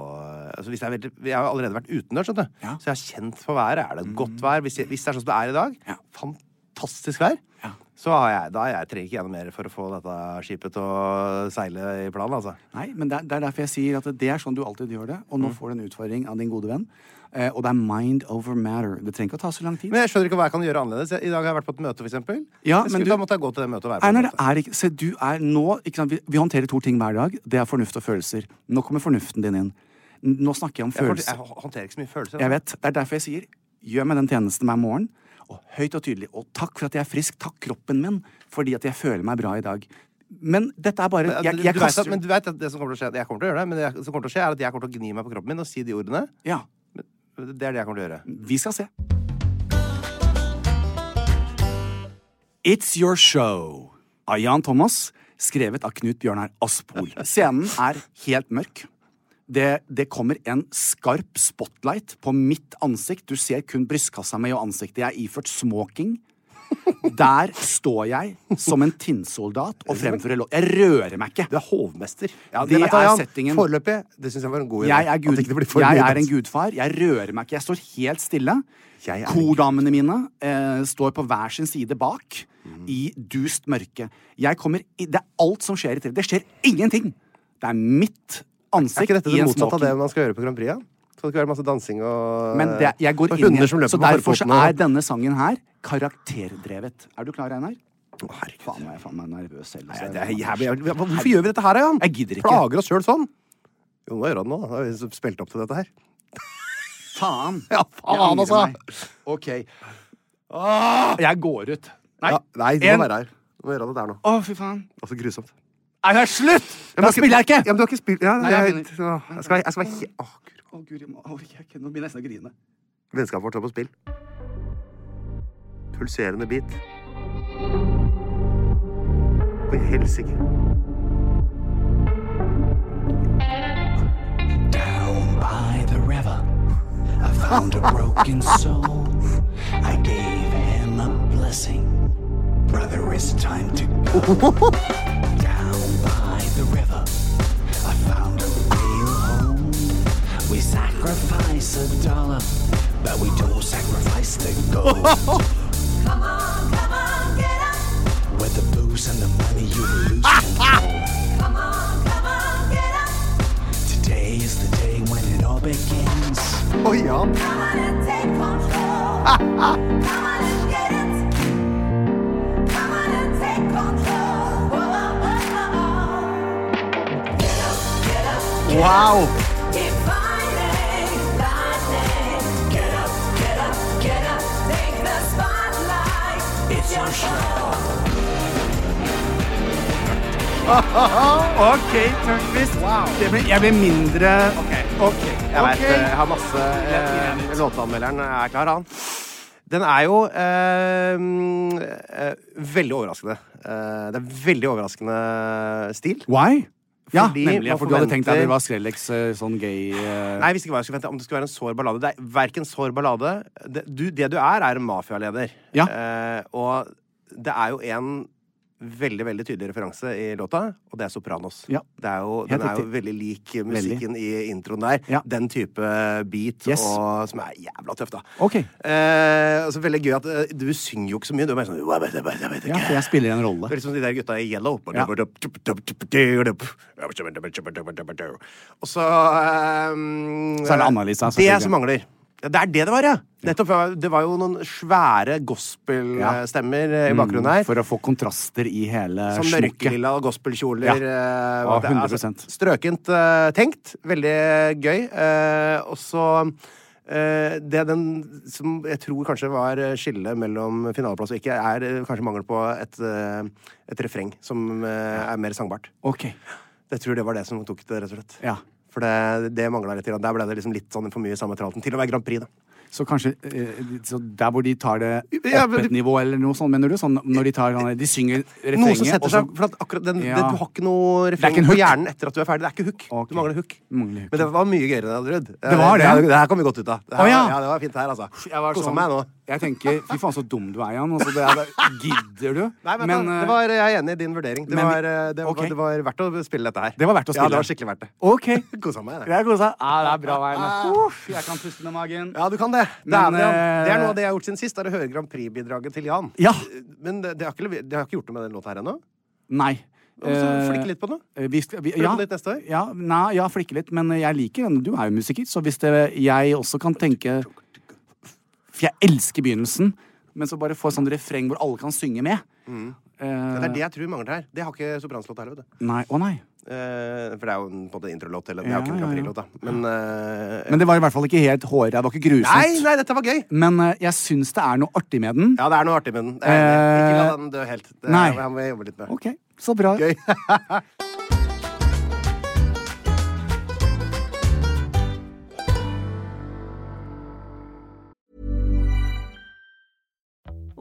[SPEAKER 2] altså hvis det er veldig, Jeg har allerede vært utendørs, skjønner du.
[SPEAKER 3] Ja. Mm.
[SPEAKER 2] så jeg har kjent på været. Er det et godt vær? Hvis, jeg, hvis det er sånn som det er i dag,
[SPEAKER 3] Ja.
[SPEAKER 2] fantastisk vær,
[SPEAKER 3] Ja.
[SPEAKER 2] så har jeg, da har jeg trenger ikke gjennom mer for å få dette skipet til å seile i planen, altså.
[SPEAKER 3] Nei, men det er, det er derfor jeg sier at det er sånn du alltid gjør det. Og
[SPEAKER 4] Mm.
[SPEAKER 3] nå får du en utfordring av din gode venn. Eh, og det er mind over matter. Det trenger ikke å ta så lang tid.
[SPEAKER 2] Men jeg skjønner ikke hva jeg kan gjøre annerledes. Jeg- I dag har jeg vært på et møte, for eksempel.
[SPEAKER 3] Ja,
[SPEAKER 2] Jeg
[SPEAKER 3] men
[SPEAKER 2] skulle,
[SPEAKER 3] du-
[SPEAKER 2] Da måtte jeg gå til det møtet og være på
[SPEAKER 3] Einar,
[SPEAKER 2] det
[SPEAKER 3] det er ikke, se, du er nå, ikke sant, vi, vi håndterer to ting hver dag. Det er fornuft og følelser. Nå kommer fornuften din inn. N- Nå snakker jeg om
[SPEAKER 2] Jeg, får-
[SPEAKER 3] følelser.
[SPEAKER 2] jeg hå- håndterer ikke så mye følelser.
[SPEAKER 3] Jeg vet, Det er derfor jeg sier gjør meg den tjenesten hver morgen. Og høyt og tydelig. Og takk for at jeg er frisk. Takk kroppen min. Fordi at jeg føler meg bra i dag. Men dette er bare Jeg,
[SPEAKER 2] Men,
[SPEAKER 3] jeg
[SPEAKER 2] du vet
[SPEAKER 3] kaster
[SPEAKER 2] at, men du vet at det som kommer til å skje Jeg kommer til å gjøre det, men det som kommer til å skje, er at jeg kommer til å gni meg på kroppen min og si de ordene.
[SPEAKER 3] Ja.
[SPEAKER 2] Det er det jeg kommer til å gjøre.
[SPEAKER 3] Vi skal se. It's Your Show av Jan Thomas, skrevet av Knut Bjørnar Aspol. Scenen er helt mørk. Det, det kommer en skarp spotlight på mitt ansikt. Du ser kun brystkassa mi og ansiktet. Jeg er iført smoking. Der står jeg som en tinnsoldat og fremfører låt. Jeg rører meg ikke.
[SPEAKER 2] Du er hovmester. Ja,
[SPEAKER 3] Det
[SPEAKER 2] vet du hva,
[SPEAKER 3] er
[SPEAKER 2] Jan?
[SPEAKER 3] settingen.
[SPEAKER 2] Foreløpig. Det syns jeg var en god idé.
[SPEAKER 3] Jeg er,
[SPEAKER 2] At
[SPEAKER 3] gud,
[SPEAKER 2] ikke det blir for
[SPEAKER 3] jeg
[SPEAKER 2] mye
[SPEAKER 3] er en
[SPEAKER 2] dans.
[SPEAKER 3] gudfar. Jeg rører meg ikke. Jeg står helt stille.
[SPEAKER 2] Jeg er en
[SPEAKER 3] Kordamene mine eh, står på hver sin side bak
[SPEAKER 2] Mm.
[SPEAKER 3] i dust mørke. Jeg kommer i, det er alt som skjer i TV. Det skjer ingenting! Det er mitt
[SPEAKER 2] Er
[SPEAKER 3] ansikt
[SPEAKER 2] ikke dette
[SPEAKER 3] i
[SPEAKER 2] det
[SPEAKER 3] en
[SPEAKER 2] motsatte av det
[SPEAKER 3] smoking.
[SPEAKER 2] man skal gjøre på Grand Prix? Ja? Skal det ikke være masse dansing og
[SPEAKER 3] Men det, jeg går
[SPEAKER 2] og
[SPEAKER 3] inn
[SPEAKER 2] hunder som
[SPEAKER 3] i
[SPEAKER 2] løper
[SPEAKER 3] Så
[SPEAKER 2] på
[SPEAKER 3] derfor så
[SPEAKER 2] forfotene?
[SPEAKER 3] er denne sangen her karakterdrevet. Er du klar, Einar?
[SPEAKER 2] Å, herregud.
[SPEAKER 3] Faen, nå er jeg faen meg nervøs selv. altså.
[SPEAKER 2] Nei,
[SPEAKER 3] så
[SPEAKER 2] det er
[SPEAKER 3] jeg-
[SPEAKER 2] jævlig, jævlig. Hvorfor gjør vi dette her, da, Jan?
[SPEAKER 3] Jeg gidder ikke.
[SPEAKER 2] Plager oss sjøl sånn. Jo, nå gjør han det nå. Da har vi spilt opp til dette her.
[SPEAKER 3] Faen!
[SPEAKER 2] Ja,
[SPEAKER 3] Jeg
[SPEAKER 2] faen,
[SPEAKER 3] angrer
[SPEAKER 2] altså!
[SPEAKER 3] meg. OK. Jeg går ut. Nei.
[SPEAKER 2] Ja, nei, du
[SPEAKER 3] En-
[SPEAKER 2] må være her. Du må gjøre det der nå.
[SPEAKER 3] Å, fy faen.
[SPEAKER 2] Altså, grusomt.
[SPEAKER 3] Nei, det er slutt!
[SPEAKER 2] Men du
[SPEAKER 3] Da
[SPEAKER 2] har
[SPEAKER 3] spiller jeg ikke!
[SPEAKER 2] Ja, men du har ikke spilt ja,
[SPEAKER 3] Nei, jeg
[SPEAKER 2] jeg,
[SPEAKER 3] begynner.
[SPEAKER 2] så- jeg skal, jeg skal være he- Å, Gud.
[SPEAKER 3] Å, Guri, ma- å, jeg, nå begynner jeg nesten å grine.
[SPEAKER 2] Vennskapet vårt står på spill. Pulserende bit. Og i helsike.
[SPEAKER 5] Down by the river, I found a broken soul. I gave him a blessing. Brother, it's time to go. Down by the river, I found a real home. We sacrifice a dollar, but we don't sacrifice the gold. come on, come on, get up. With the booze and the money, you will lose control. Today is the day when it all begins.
[SPEAKER 2] Å, Jan.
[SPEAKER 3] Wow! OK, Tørnquist. Det blir- Jeg blir mindre OK. ok,
[SPEAKER 2] Jeg vet,
[SPEAKER 3] ok.
[SPEAKER 2] eh, jeg har masse eh, Låteanmelderen er klar, han. Den er jo eh, mm, eh, veldig overraskende. Eh, det er veldig overraskende stil.
[SPEAKER 3] Why? Ja,
[SPEAKER 2] Fordi
[SPEAKER 3] nemlig. Ja,
[SPEAKER 2] man
[SPEAKER 3] for du hadde tenkt deg at det
[SPEAKER 2] forventer-
[SPEAKER 3] var Skrellex eh, sånn gay eh,
[SPEAKER 2] Nei, jeg visste ikke hva jeg skulle vente. Om det skulle være en sår ballade. Det er verken sår ballade det du, det du er, er en mafialeder.
[SPEAKER 3] Ja.
[SPEAKER 2] Eh, og det er jo en veldig veldig tydelig referanse i låta, og det er Sopranos.
[SPEAKER 3] Ja.
[SPEAKER 2] Det er jo,
[SPEAKER 3] Helt
[SPEAKER 2] den er jo
[SPEAKER 3] riktig.
[SPEAKER 2] veldig lik musikken i introen der.
[SPEAKER 3] Ja.
[SPEAKER 2] Den type beat
[SPEAKER 3] Yes.
[SPEAKER 2] og, som er jævla tøff, da.
[SPEAKER 3] Ok.
[SPEAKER 2] Eh, altså, veldig gøy at eh, du synger jo ikke så mye. Du er bare sånn
[SPEAKER 3] Ja, for jeg spiller en rolle.
[SPEAKER 2] det er liksom de der gutta i Yellow.
[SPEAKER 3] Ja.
[SPEAKER 2] Og så ehm,
[SPEAKER 3] Så er det Anna-Lisa, selvfølgelig.
[SPEAKER 2] Det som mangler. Ja, Det er det det var, ja! Nettopp, ja. det var jo noen svære gospelstemmer eh, i bakgrunnen her.
[SPEAKER 3] Mm, For å få kontraster i hele
[SPEAKER 2] Sånn
[SPEAKER 3] smykket.
[SPEAKER 2] mørkelilla gospelkjoler.
[SPEAKER 3] Eh, Ja.
[SPEAKER 2] eh,
[SPEAKER 3] Ja,
[SPEAKER 2] at det er,
[SPEAKER 3] 100%.
[SPEAKER 2] strøkent eh, tenkt. Veldig gøy. Eh, og så eh, Det den som jeg tror kanskje var eh, skillet mellom finaleplass og ikke, er eh, kanskje mangel på et, eh, et refreng som eh, er mer sangbart.
[SPEAKER 3] Ok.
[SPEAKER 2] Jeg tror det var det som tok det, rett og slett.
[SPEAKER 3] Ja.
[SPEAKER 2] For det, det mangla litt. grann. Der ble det liksom litt sånn for mye samme tralten. Til og med Grand Prix, da.
[SPEAKER 3] Så kanskje eh, så der hvor de tar det
[SPEAKER 2] Ja,
[SPEAKER 3] opp
[SPEAKER 2] men-
[SPEAKER 3] et nivå, eller noe sånt, mener du? Sånn når de tar De synger
[SPEAKER 2] Noe som
[SPEAKER 3] refrenget,
[SPEAKER 2] setter
[SPEAKER 3] og så
[SPEAKER 2] seg For at akkurat den,
[SPEAKER 3] Ja.
[SPEAKER 2] det, du har ikke noe
[SPEAKER 3] er ikke
[SPEAKER 2] refreng
[SPEAKER 3] en
[SPEAKER 2] på
[SPEAKER 3] hook.
[SPEAKER 2] hjernen etter at du er ferdig. Det er ikke hook.
[SPEAKER 3] Ok.
[SPEAKER 2] Du mangler hook.
[SPEAKER 3] Mangler hook.
[SPEAKER 2] Men det var mye gøyere enn jeg hadde trodd.
[SPEAKER 3] Det var det.
[SPEAKER 2] Det her kom vi godt ut av. Det her,
[SPEAKER 3] Å, ja.
[SPEAKER 2] ja, det var fint her, altså.
[SPEAKER 3] Jeg var
[SPEAKER 2] Kosa
[SPEAKER 3] sånn-
[SPEAKER 2] meg nå.
[SPEAKER 3] Jeg tenker fy faen, så dum du er, Jan. Altså, det er, det- gidder du?
[SPEAKER 2] Nei, vet du hva,
[SPEAKER 3] eh,
[SPEAKER 2] det var, jeg er enig i din vurdering. Det,
[SPEAKER 3] men-
[SPEAKER 2] var, eh, det,
[SPEAKER 3] ok.
[SPEAKER 2] var, det var verdt å spille dette her.
[SPEAKER 3] Det var verdt å
[SPEAKER 2] Ja, det
[SPEAKER 3] spille.
[SPEAKER 2] var skikkelig verdt det.
[SPEAKER 3] OK.
[SPEAKER 2] Kosa meg.
[SPEAKER 3] Det
[SPEAKER 2] Det.
[SPEAKER 3] er kosa. Ja, det er bra vei nå. Uff, jeg kan puste med magen.
[SPEAKER 2] Ja, du kan det. Det
[SPEAKER 3] Men,
[SPEAKER 2] er, det, ja. det er
[SPEAKER 3] eh,
[SPEAKER 2] noe av det jeg har gjort siden sist, er å høre Grand Prix-bidraget til Jan.
[SPEAKER 3] Ja.
[SPEAKER 2] Men det, det, har ikke, lever- det har ikke gjort noe med den låta her ennå.
[SPEAKER 3] Nei.
[SPEAKER 2] Så
[SPEAKER 3] Eh,
[SPEAKER 2] flikke litt på den. da.
[SPEAKER 3] Eh, Vi skal, vi,
[SPEAKER 2] Flikke litt neste år?
[SPEAKER 3] Ja, nei, ja, flikke litt, men jeg liker den. Du er jo musiker, så hvis det, jeg også kan tenke For jeg elsker begynnelsen, men så bare få et sånt refreng hvor alle kan synge med. Eh,
[SPEAKER 2] Mm. Det er det jeg tror mangler her. Det har ikke sopranslåta heller, vet du.
[SPEAKER 3] Nei, å nei.
[SPEAKER 2] Eh, for det er jo en, på en måte introlåt til Det er jo ikke
[SPEAKER 3] Ja,
[SPEAKER 2] en Grand
[SPEAKER 3] ja, ja.
[SPEAKER 2] Prix-låt, da. Men, eh,
[SPEAKER 3] Men det var i hvert fall ikke helt hårrevet. Det var ikke grusomt.
[SPEAKER 2] Nei, nei, dette var gøy!
[SPEAKER 3] Men eh, jeg syns det er noe artig med den.
[SPEAKER 2] Ja, det er noe artig med den. Jeg er enig. Ikke la
[SPEAKER 3] Eh,
[SPEAKER 2] den dø helt. Det
[SPEAKER 3] nei.
[SPEAKER 2] han må jeg jobbe litt med.
[SPEAKER 3] OK, så bra.
[SPEAKER 2] Gøy.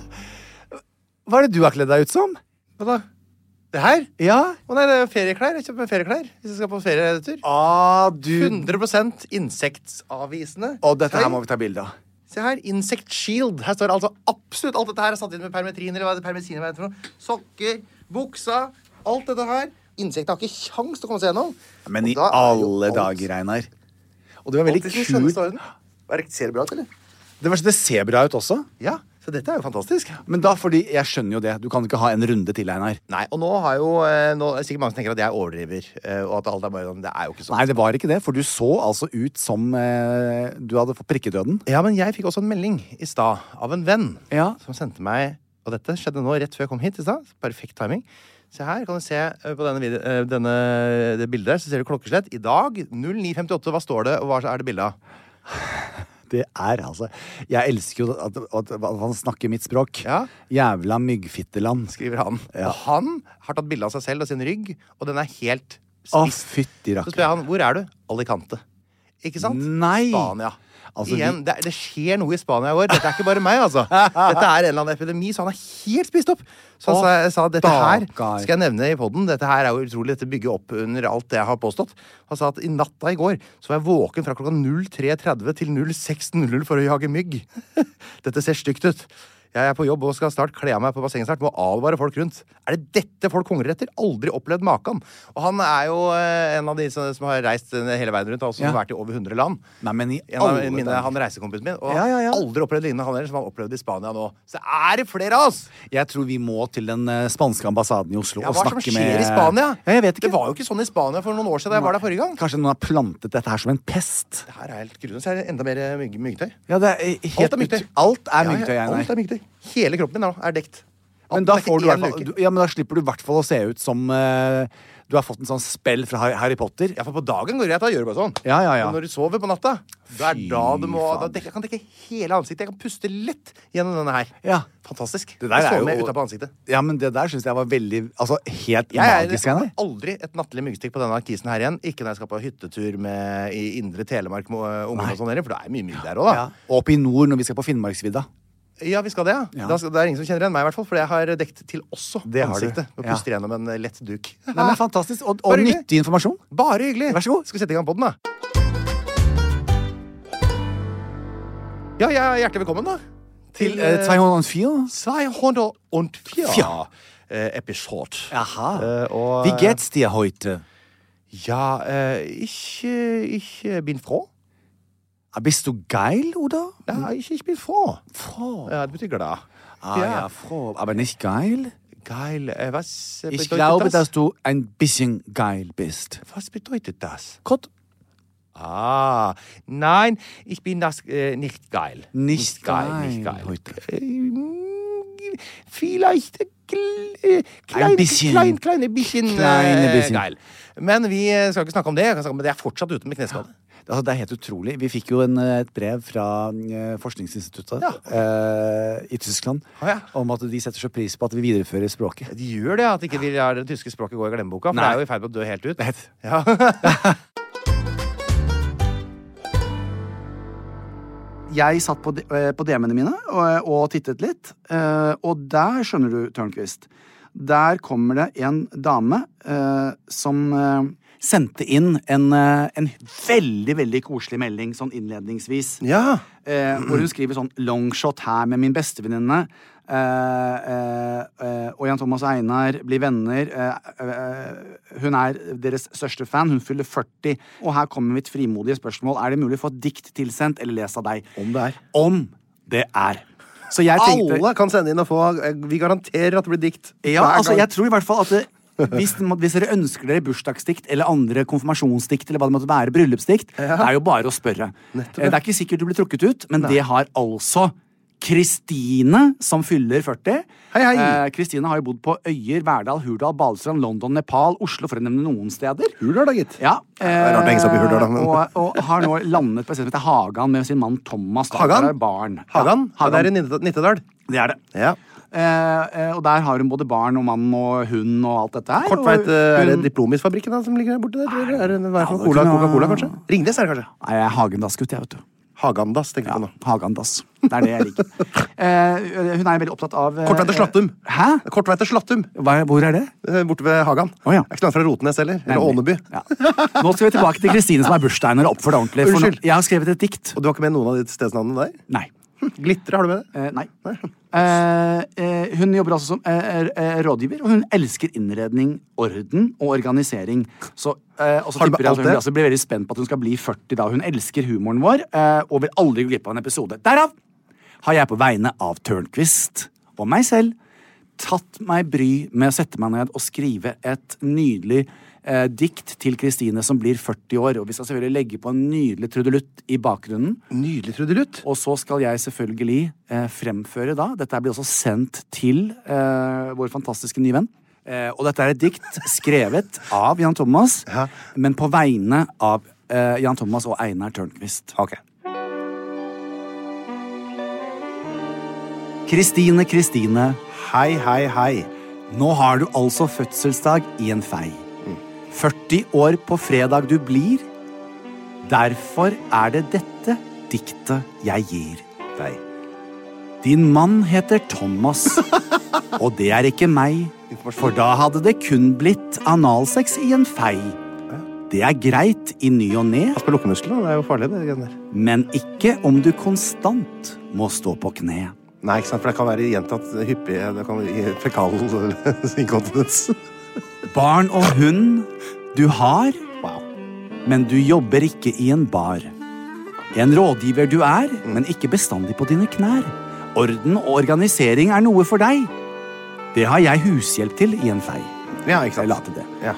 [SPEAKER 4] Hva er det du har kledd deg ut som?
[SPEAKER 2] Hva da? Det her?
[SPEAKER 4] Ja.
[SPEAKER 2] Å nei, det er ferieklær. Jeg kjøper meg ferieklær hvis jeg skal på ferietur.
[SPEAKER 4] Ah, du
[SPEAKER 2] 100 insektavvisende.
[SPEAKER 4] Og dette her
[SPEAKER 2] Tøy.
[SPEAKER 4] må vi ta bilde av.
[SPEAKER 2] Se her. Insect shield. Her står altså absolutt alt dette her er satt inn med permetrin eller hva det permetrin er for noe. Sokker, buksa, alt dette her. Insektene har ikke kjangs til å komme seg gjennom.
[SPEAKER 4] Men
[SPEAKER 2] Og
[SPEAKER 4] i
[SPEAKER 2] da er jo
[SPEAKER 4] alle
[SPEAKER 2] alt-
[SPEAKER 4] dager, Einar. Og det var
[SPEAKER 2] Alt
[SPEAKER 4] veldig
[SPEAKER 2] i sin skjønneste
[SPEAKER 4] kult.
[SPEAKER 2] orden. Er det- Ser det bra ut, eller?
[SPEAKER 4] Det, var, det ser bra ut også.
[SPEAKER 2] Ja. Så dette er jo fantastisk.
[SPEAKER 4] Men da, fordi jeg skjønner jo det. Du kan ikke ha en runde til, Einar.
[SPEAKER 2] Nei, og nå har jo eh, nå, er det Sikkert mange som tenker at jeg overdriver, eh, og at alt er bare sånn. Det er jo ikke sånn.
[SPEAKER 4] Nei, det var ikke det, for du så altså ut som eh, du hadde fått prikkedøden.
[SPEAKER 2] Ja, men jeg fikk også en melding i stad av en venn
[SPEAKER 4] Ja.
[SPEAKER 2] som sendte meg Og dette skjedde nå rett før jeg kom hit i stad. Perfekt timing. Se her, kan du se eh, på denne, video, eh, denne det bildet her, så ser du klokkeslett. I dag 09.58. Hva står det, og hva er det bilde av?
[SPEAKER 4] Det er altså Jeg elsker jo at, at, at han snakker mitt språk.
[SPEAKER 2] Ja.
[SPEAKER 4] Jævla myggfitteland.
[SPEAKER 2] Skriver han. Og han har tatt bilde av seg selv og sin rygg, og den er helt
[SPEAKER 4] Å,
[SPEAKER 2] spist.
[SPEAKER 4] fytti
[SPEAKER 2] så spør
[SPEAKER 4] rakker.
[SPEAKER 2] jeg han hvor er du? Alicante. Ikke sant?
[SPEAKER 4] Nei.
[SPEAKER 2] Spania.
[SPEAKER 4] Altså,
[SPEAKER 2] Igjen,
[SPEAKER 4] vi-
[SPEAKER 2] det, er- det skjer noe i Spania i år. Dette er ikke bare meg, altså. Dette er en eller annen epidemi, så han er helt spist opp. Så han
[SPEAKER 4] Å,
[SPEAKER 2] sa, sa dette her
[SPEAKER 4] stakkar.
[SPEAKER 2] skal jeg nevne i poden. Dette her er jo utrolig. Dette bygger opp under alt det jeg har påstått. Han sa at i natta i går så var jeg våken fra klokka 03.30 til 06.00 for å jage mygg. Dette ser stygt ut. Jeg er på jobb og skal snart kle av meg på bassenget snart. Må advare folk rundt. Er det dette folk hungrer etter? Aldri opplevd maken. Og han er jo eh, en av de som, som har reist eh, hele verden rundt, og som
[SPEAKER 4] Ja.
[SPEAKER 2] har vært i over 100 land.
[SPEAKER 4] Nei, men i
[SPEAKER 2] En av
[SPEAKER 4] alle
[SPEAKER 2] mine,
[SPEAKER 4] dager.
[SPEAKER 2] han reisekompisen min. Og
[SPEAKER 4] Ja, ja, ja.
[SPEAKER 2] aldri opplevd lignende han heller, som han opplevde i Spania nå. Så er det flere av oss!
[SPEAKER 4] Jeg tror vi må til den eh, spanske ambassaden i Oslo
[SPEAKER 2] Ja,
[SPEAKER 4] og
[SPEAKER 2] hva er
[SPEAKER 4] snakke
[SPEAKER 2] det
[SPEAKER 4] med
[SPEAKER 2] som skjer i Spania?
[SPEAKER 4] Ja, jeg vet ikke.
[SPEAKER 2] Det var jo ikke sånn i Spania for noen år siden da jeg var der forrige gang.
[SPEAKER 4] Kanskje noen har plantet dette her som en pest?
[SPEAKER 2] Det her er helt grusomt. Så er det enda mer eh, mygg, myggtøy.
[SPEAKER 4] Ja, det er eh, helt
[SPEAKER 2] Alt er myggtøy.
[SPEAKER 4] ut- Alt er
[SPEAKER 2] Ja, ja,
[SPEAKER 4] myggtøy, Einar.
[SPEAKER 2] Alt er myggtøy. Hele kroppen min er, nå- er dekt.
[SPEAKER 4] Men
[SPEAKER 2] Alt
[SPEAKER 4] da,
[SPEAKER 2] er ikke
[SPEAKER 4] får du i
[SPEAKER 2] én
[SPEAKER 4] hvert fall,
[SPEAKER 2] luke.
[SPEAKER 4] du- ja, men da slipper du i hvert fall å se ut som eh,
[SPEAKER 3] Du har fått en sånn spell fra Har- Harry Potter.
[SPEAKER 4] Ja, for på dagen går det greit. Da gjør du bare sånn.
[SPEAKER 3] Ja, ja, ja.
[SPEAKER 4] Men når du sover på natta, da er
[SPEAKER 3] Fy
[SPEAKER 4] da du må da
[SPEAKER 3] fader.
[SPEAKER 4] dekker, Jeg kan dekke hele ansiktet. Jeg kan puste lett gjennom denne her.
[SPEAKER 3] Ja.
[SPEAKER 4] Fantastisk.
[SPEAKER 3] Det der
[SPEAKER 4] jeg
[SPEAKER 3] er
[SPEAKER 4] sover
[SPEAKER 3] jo-
[SPEAKER 4] med utapå ansiktet.
[SPEAKER 3] Ja, men det der syns jeg var veldig Altså, helt
[SPEAKER 4] Jeg er
[SPEAKER 3] magisk. Einar.
[SPEAKER 4] aldri et nattlig myggstikk på denne kisen her igjen. Ikke når jeg skal på hyttetur med, i indre Telemark med øh, ungene og sånn, for det er mye mygg der òg, da.
[SPEAKER 3] Ja. Og oppe i nord når vi skal på Finnmarksvidda.
[SPEAKER 4] Ja, vi skal det, ja.
[SPEAKER 3] Ja.
[SPEAKER 4] Da skal, det er ingen som kjenner igjen meg, i hvert fall, for jeg har dekt til også
[SPEAKER 3] Det har du.
[SPEAKER 4] ansiktet. Og
[SPEAKER 3] Ja.
[SPEAKER 4] puster gjennom en eh, lett duk.
[SPEAKER 3] Nei, men fantastisk. Og,
[SPEAKER 4] Bare
[SPEAKER 3] og
[SPEAKER 4] hyggelig.
[SPEAKER 3] nyttig informasjon.
[SPEAKER 4] Bare hyggelig!
[SPEAKER 3] Vær så god.
[SPEAKER 4] Skal vi sette i gang podden, da? Ja, ja, hjertelig velkommen, da.
[SPEAKER 3] Til
[SPEAKER 4] eh,
[SPEAKER 3] eh, 204.
[SPEAKER 4] Sei hundre und vier
[SPEAKER 3] Ja.
[SPEAKER 4] eh, episode.
[SPEAKER 3] Aha.
[SPEAKER 4] Eh, og,
[SPEAKER 3] Wie geht's dir heute?
[SPEAKER 4] Ja, eh, ich, eh, ich eh, bin froh.
[SPEAKER 3] Ah, Bist du geil, oder?
[SPEAKER 4] Ja, ich, ich bin froh.
[SPEAKER 3] Froh.
[SPEAKER 4] Ja, det betyr glad.
[SPEAKER 3] Mm. Ah, ja. froh. Aber nicht geil?
[SPEAKER 4] Geil. Eh, was eh,
[SPEAKER 3] Ich
[SPEAKER 4] bedeutet
[SPEAKER 3] glaube,
[SPEAKER 4] das?
[SPEAKER 3] dass du ein bisschen geil bist.
[SPEAKER 4] Was bedeutet das?
[SPEAKER 3] Gott.
[SPEAKER 4] Ah, nein, ich bin das äh, nicht geil.
[SPEAKER 3] Nicht geil
[SPEAKER 4] nicht geil.
[SPEAKER 3] heute.
[SPEAKER 4] Ähm, Vielleicht äh, gl- äh, klein,
[SPEAKER 3] Ein bisschen.
[SPEAKER 4] klein, kleine bisschen,
[SPEAKER 3] Kleine
[SPEAKER 4] äh,
[SPEAKER 3] bisschen.
[SPEAKER 4] geil. Men vi eh, skal ikke snakke om det. Jeg kan snakke om det. Jeg er fortsatt ute med kneskade.
[SPEAKER 3] Altså, det er helt utrolig. Vi fikk jo en, eh, et brev fra eh, forskningsinstituttet eh, i Tyskland
[SPEAKER 4] Å, ja.
[SPEAKER 3] om at de setter så pris på at vi viderefører språket.
[SPEAKER 4] De gjør det, at ikke vi lar det tyske språket gå i glemmeboka. For
[SPEAKER 3] Nei.
[SPEAKER 4] det er jo i ferd med å dø helt ut.
[SPEAKER 3] Det het-
[SPEAKER 2] Jeg satt på, D- eh, på DM-ene mine og, og tittet litt, eh, og der, skjønner du, Tørnquist, der kommer det en dame eh, som eh, sendte inn en, eh, en veldig, veldig koselig melding sånn innledningsvis.
[SPEAKER 4] Ja.
[SPEAKER 2] Eh, hvor hun skriver sånn 'longshot her med min bestevenninne'. Eh, eh, eh, og Jan Thomas og Einar blir venner. Eh, eh, hun er deres største fan. Hun fyller 40. Og her kommer mitt frimodige spørsmål. Er det mulig å få et dikt tilsendt eller lest av deg?
[SPEAKER 4] Om det er.
[SPEAKER 2] Om det er. Så jeg tenkte
[SPEAKER 4] Alle kan sende inn og få. eh, Vi garanterer at det blir dikt.
[SPEAKER 2] ja,
[SPEAKER 4] hver
[SPEAKER 2] altså
[SPEAKER 4] gang.
[SPEAKER 2] jeg tror i hvert fall at det, hvis, hvis dere ønsker dere bursdagsdikt eller andre konfirmasjonsdikt, eller hva det måtte være, bryllupsdikt, det er jo bare å spørre. Eh, Det er ikke sikkert du blir trukket ut, men det har altså Kristine, som fyller 40.
[SPEAKER 4] Hei, hei.
[SPEAKER 2] Eh, Kristine har jo bodd på Øyer, Verdal, Hurdal, Balestrand, London, Nepal, Oslo, for å nevne noen steder.
[SPEAKER 4] Hurdal, da, gitt.
[SPEAKER 2] Ja, eh,
[SPEAKER 4] er rart å henge seg opp i Hurdal, da, men-
[SPEAKER 2] og, og har nå landet på et sted som heter Hagan med sin mann Thomas. da.
[SPEAKER 4] Hagan?
[SPEAKER 2] Der er Barn. Ja,
[SPEAKER 4] Hagan? Ja, Det
[SPEAKER 2] Hagan.
[SPEAKER 4] er i Nittedal- Nittedal.
[SPEAKER 2] Det er det.
[SPEAKER 4] Ja.
[SPEAKER 2] Eh, eh, og der har hun både barn og mann og hund og alt dette her.
[SPEAKER 4] Kort
[SPEAKER 2] og
[SPEAKER 4] veit, eh, er det
[SPEAKER 2] hun-
[SPEAKER 4] Diplomisfabrikken da, som ligger der borte? der, tror dere? Er det i hvert fall
[SPEAKER 2] Ja, det
[SPEAKER 4] Cola,
[SPEAKER 2] kunne-
[SPEAKER 4] Coca-Cola, kanskje? Ringnes er det kanskje?
[SPEAKER 2] Nei, jeg er Hagendass-gutt, jeg, vet du.
[SPEAKER 4] Hagandas, tenker
[SPEAKER 2] Ja,
[SPEAKER 4] jeg på nå.
[SPEAKER 2] Hagandass. Det er det jeg liker. eh, hun er veldig opptatt av eh,
[SPEAKER 4] Kort vei til Slattum.
[SPEAKER 2] Hæ?
[SPEAKER 4] Kort vei til Slattum,
[SPEAKER 2] Hva, hvor er det?
[SPEAKER 4] eh, borte ved Hagan.
[SPEAKER 2] Å, ja.
[SPEAKER 4] Det er ikke langt fra Rotenes heller. Eller Åneby.
[SPEAKER 2] Ja. Nå skal vi tilbake til Kristine som er bursdagen og oppfører deg ordentlig. For nå-
[SPEAKER 4] Unnskyld.
[SPEAKER 2] jeg har skrevet et dikt.
[SPEAKER 4] Og du har ikke med noen av de stedsnavnene der?
[SPEAKER 2] Nei.
[SPEAKER 4] Hm, Glitre, har du med det?
[SPEAKER 2] Eh, nei. Eh, eh, hun jobber altså som eh, eh, rådgiver, og hun elsker innredning, orden og organisering. Så, eh, og så
[SPEAKER 4] Har du med
[SPEAKER 2] tipper jeg at
[SPEAKER 4] alt
[SPEAKER 2] hun
[SPEAKER 4] det?
[SPEAKER 2] blir, altså blir veldig spent på at hun skal bli 40 da. Hun elsker humoren vår eh, og vil aldri gå glipp av en episode. Derav har jeg på vegne av Tørnquist og meg selv tatt meg bry med å sette meg ned og skrive et nydelig eh, dikt til Kristine som blir 40 år. Og vi skal selvfølgelig legge på en nydelig trudelutt i bakgrunnen.
[SPEAKER 4] Nydelig trudelutt.
[SPEAKER 2] Og så skal jeg selvfølgelig eh, fremføre da Dette blir også sendt til eh, vår fantastiske nye venn. Eh, og dette er et dikt skrevet av Jan Thomas, men på vegne av eh, Jan Thomas og Einar Tørnquist.
[SPEAKER 4] Ok.
[SPEAKER 2] Kristine, Kristine,
[SPEAKER 4] Hei, hei, hei.
[SPEAKER 2] nå har du altså fødselsdag i en fei. 40 år på fredag du blir. Derfor er det dette diktet jeg gir deg. Din mann heter Thomas, og det er ikke meg, for da hadde det kun blitt analsex i en fei. Det er greit i ny og ne,
[SPEAKER 4] Pass på lukkemusklene, det er jo farlig, det greiene der.
[SPEAKER 2] men ikke om du konstant må stå på kne.
[SPEAKER 4] Nei, ikke sant, for det kan være gjentatt hyppig Det kan gi fekal inkontinens.
[SPEAKER 2] Barn og hund du har, men du jobber ikke i en bar. En rådgiver du er, men ikke bestandig på dine knær. Orden og organisering er noe for deg. Det har jeg hushjelp til i en fei.
[SPEAKER 4] Ja, ikke
[SPEAKER 2] Jeg la
[SPEAKER 4] sant.
[SPEAKER 2] til det.
[SPEAKER 4] Ja.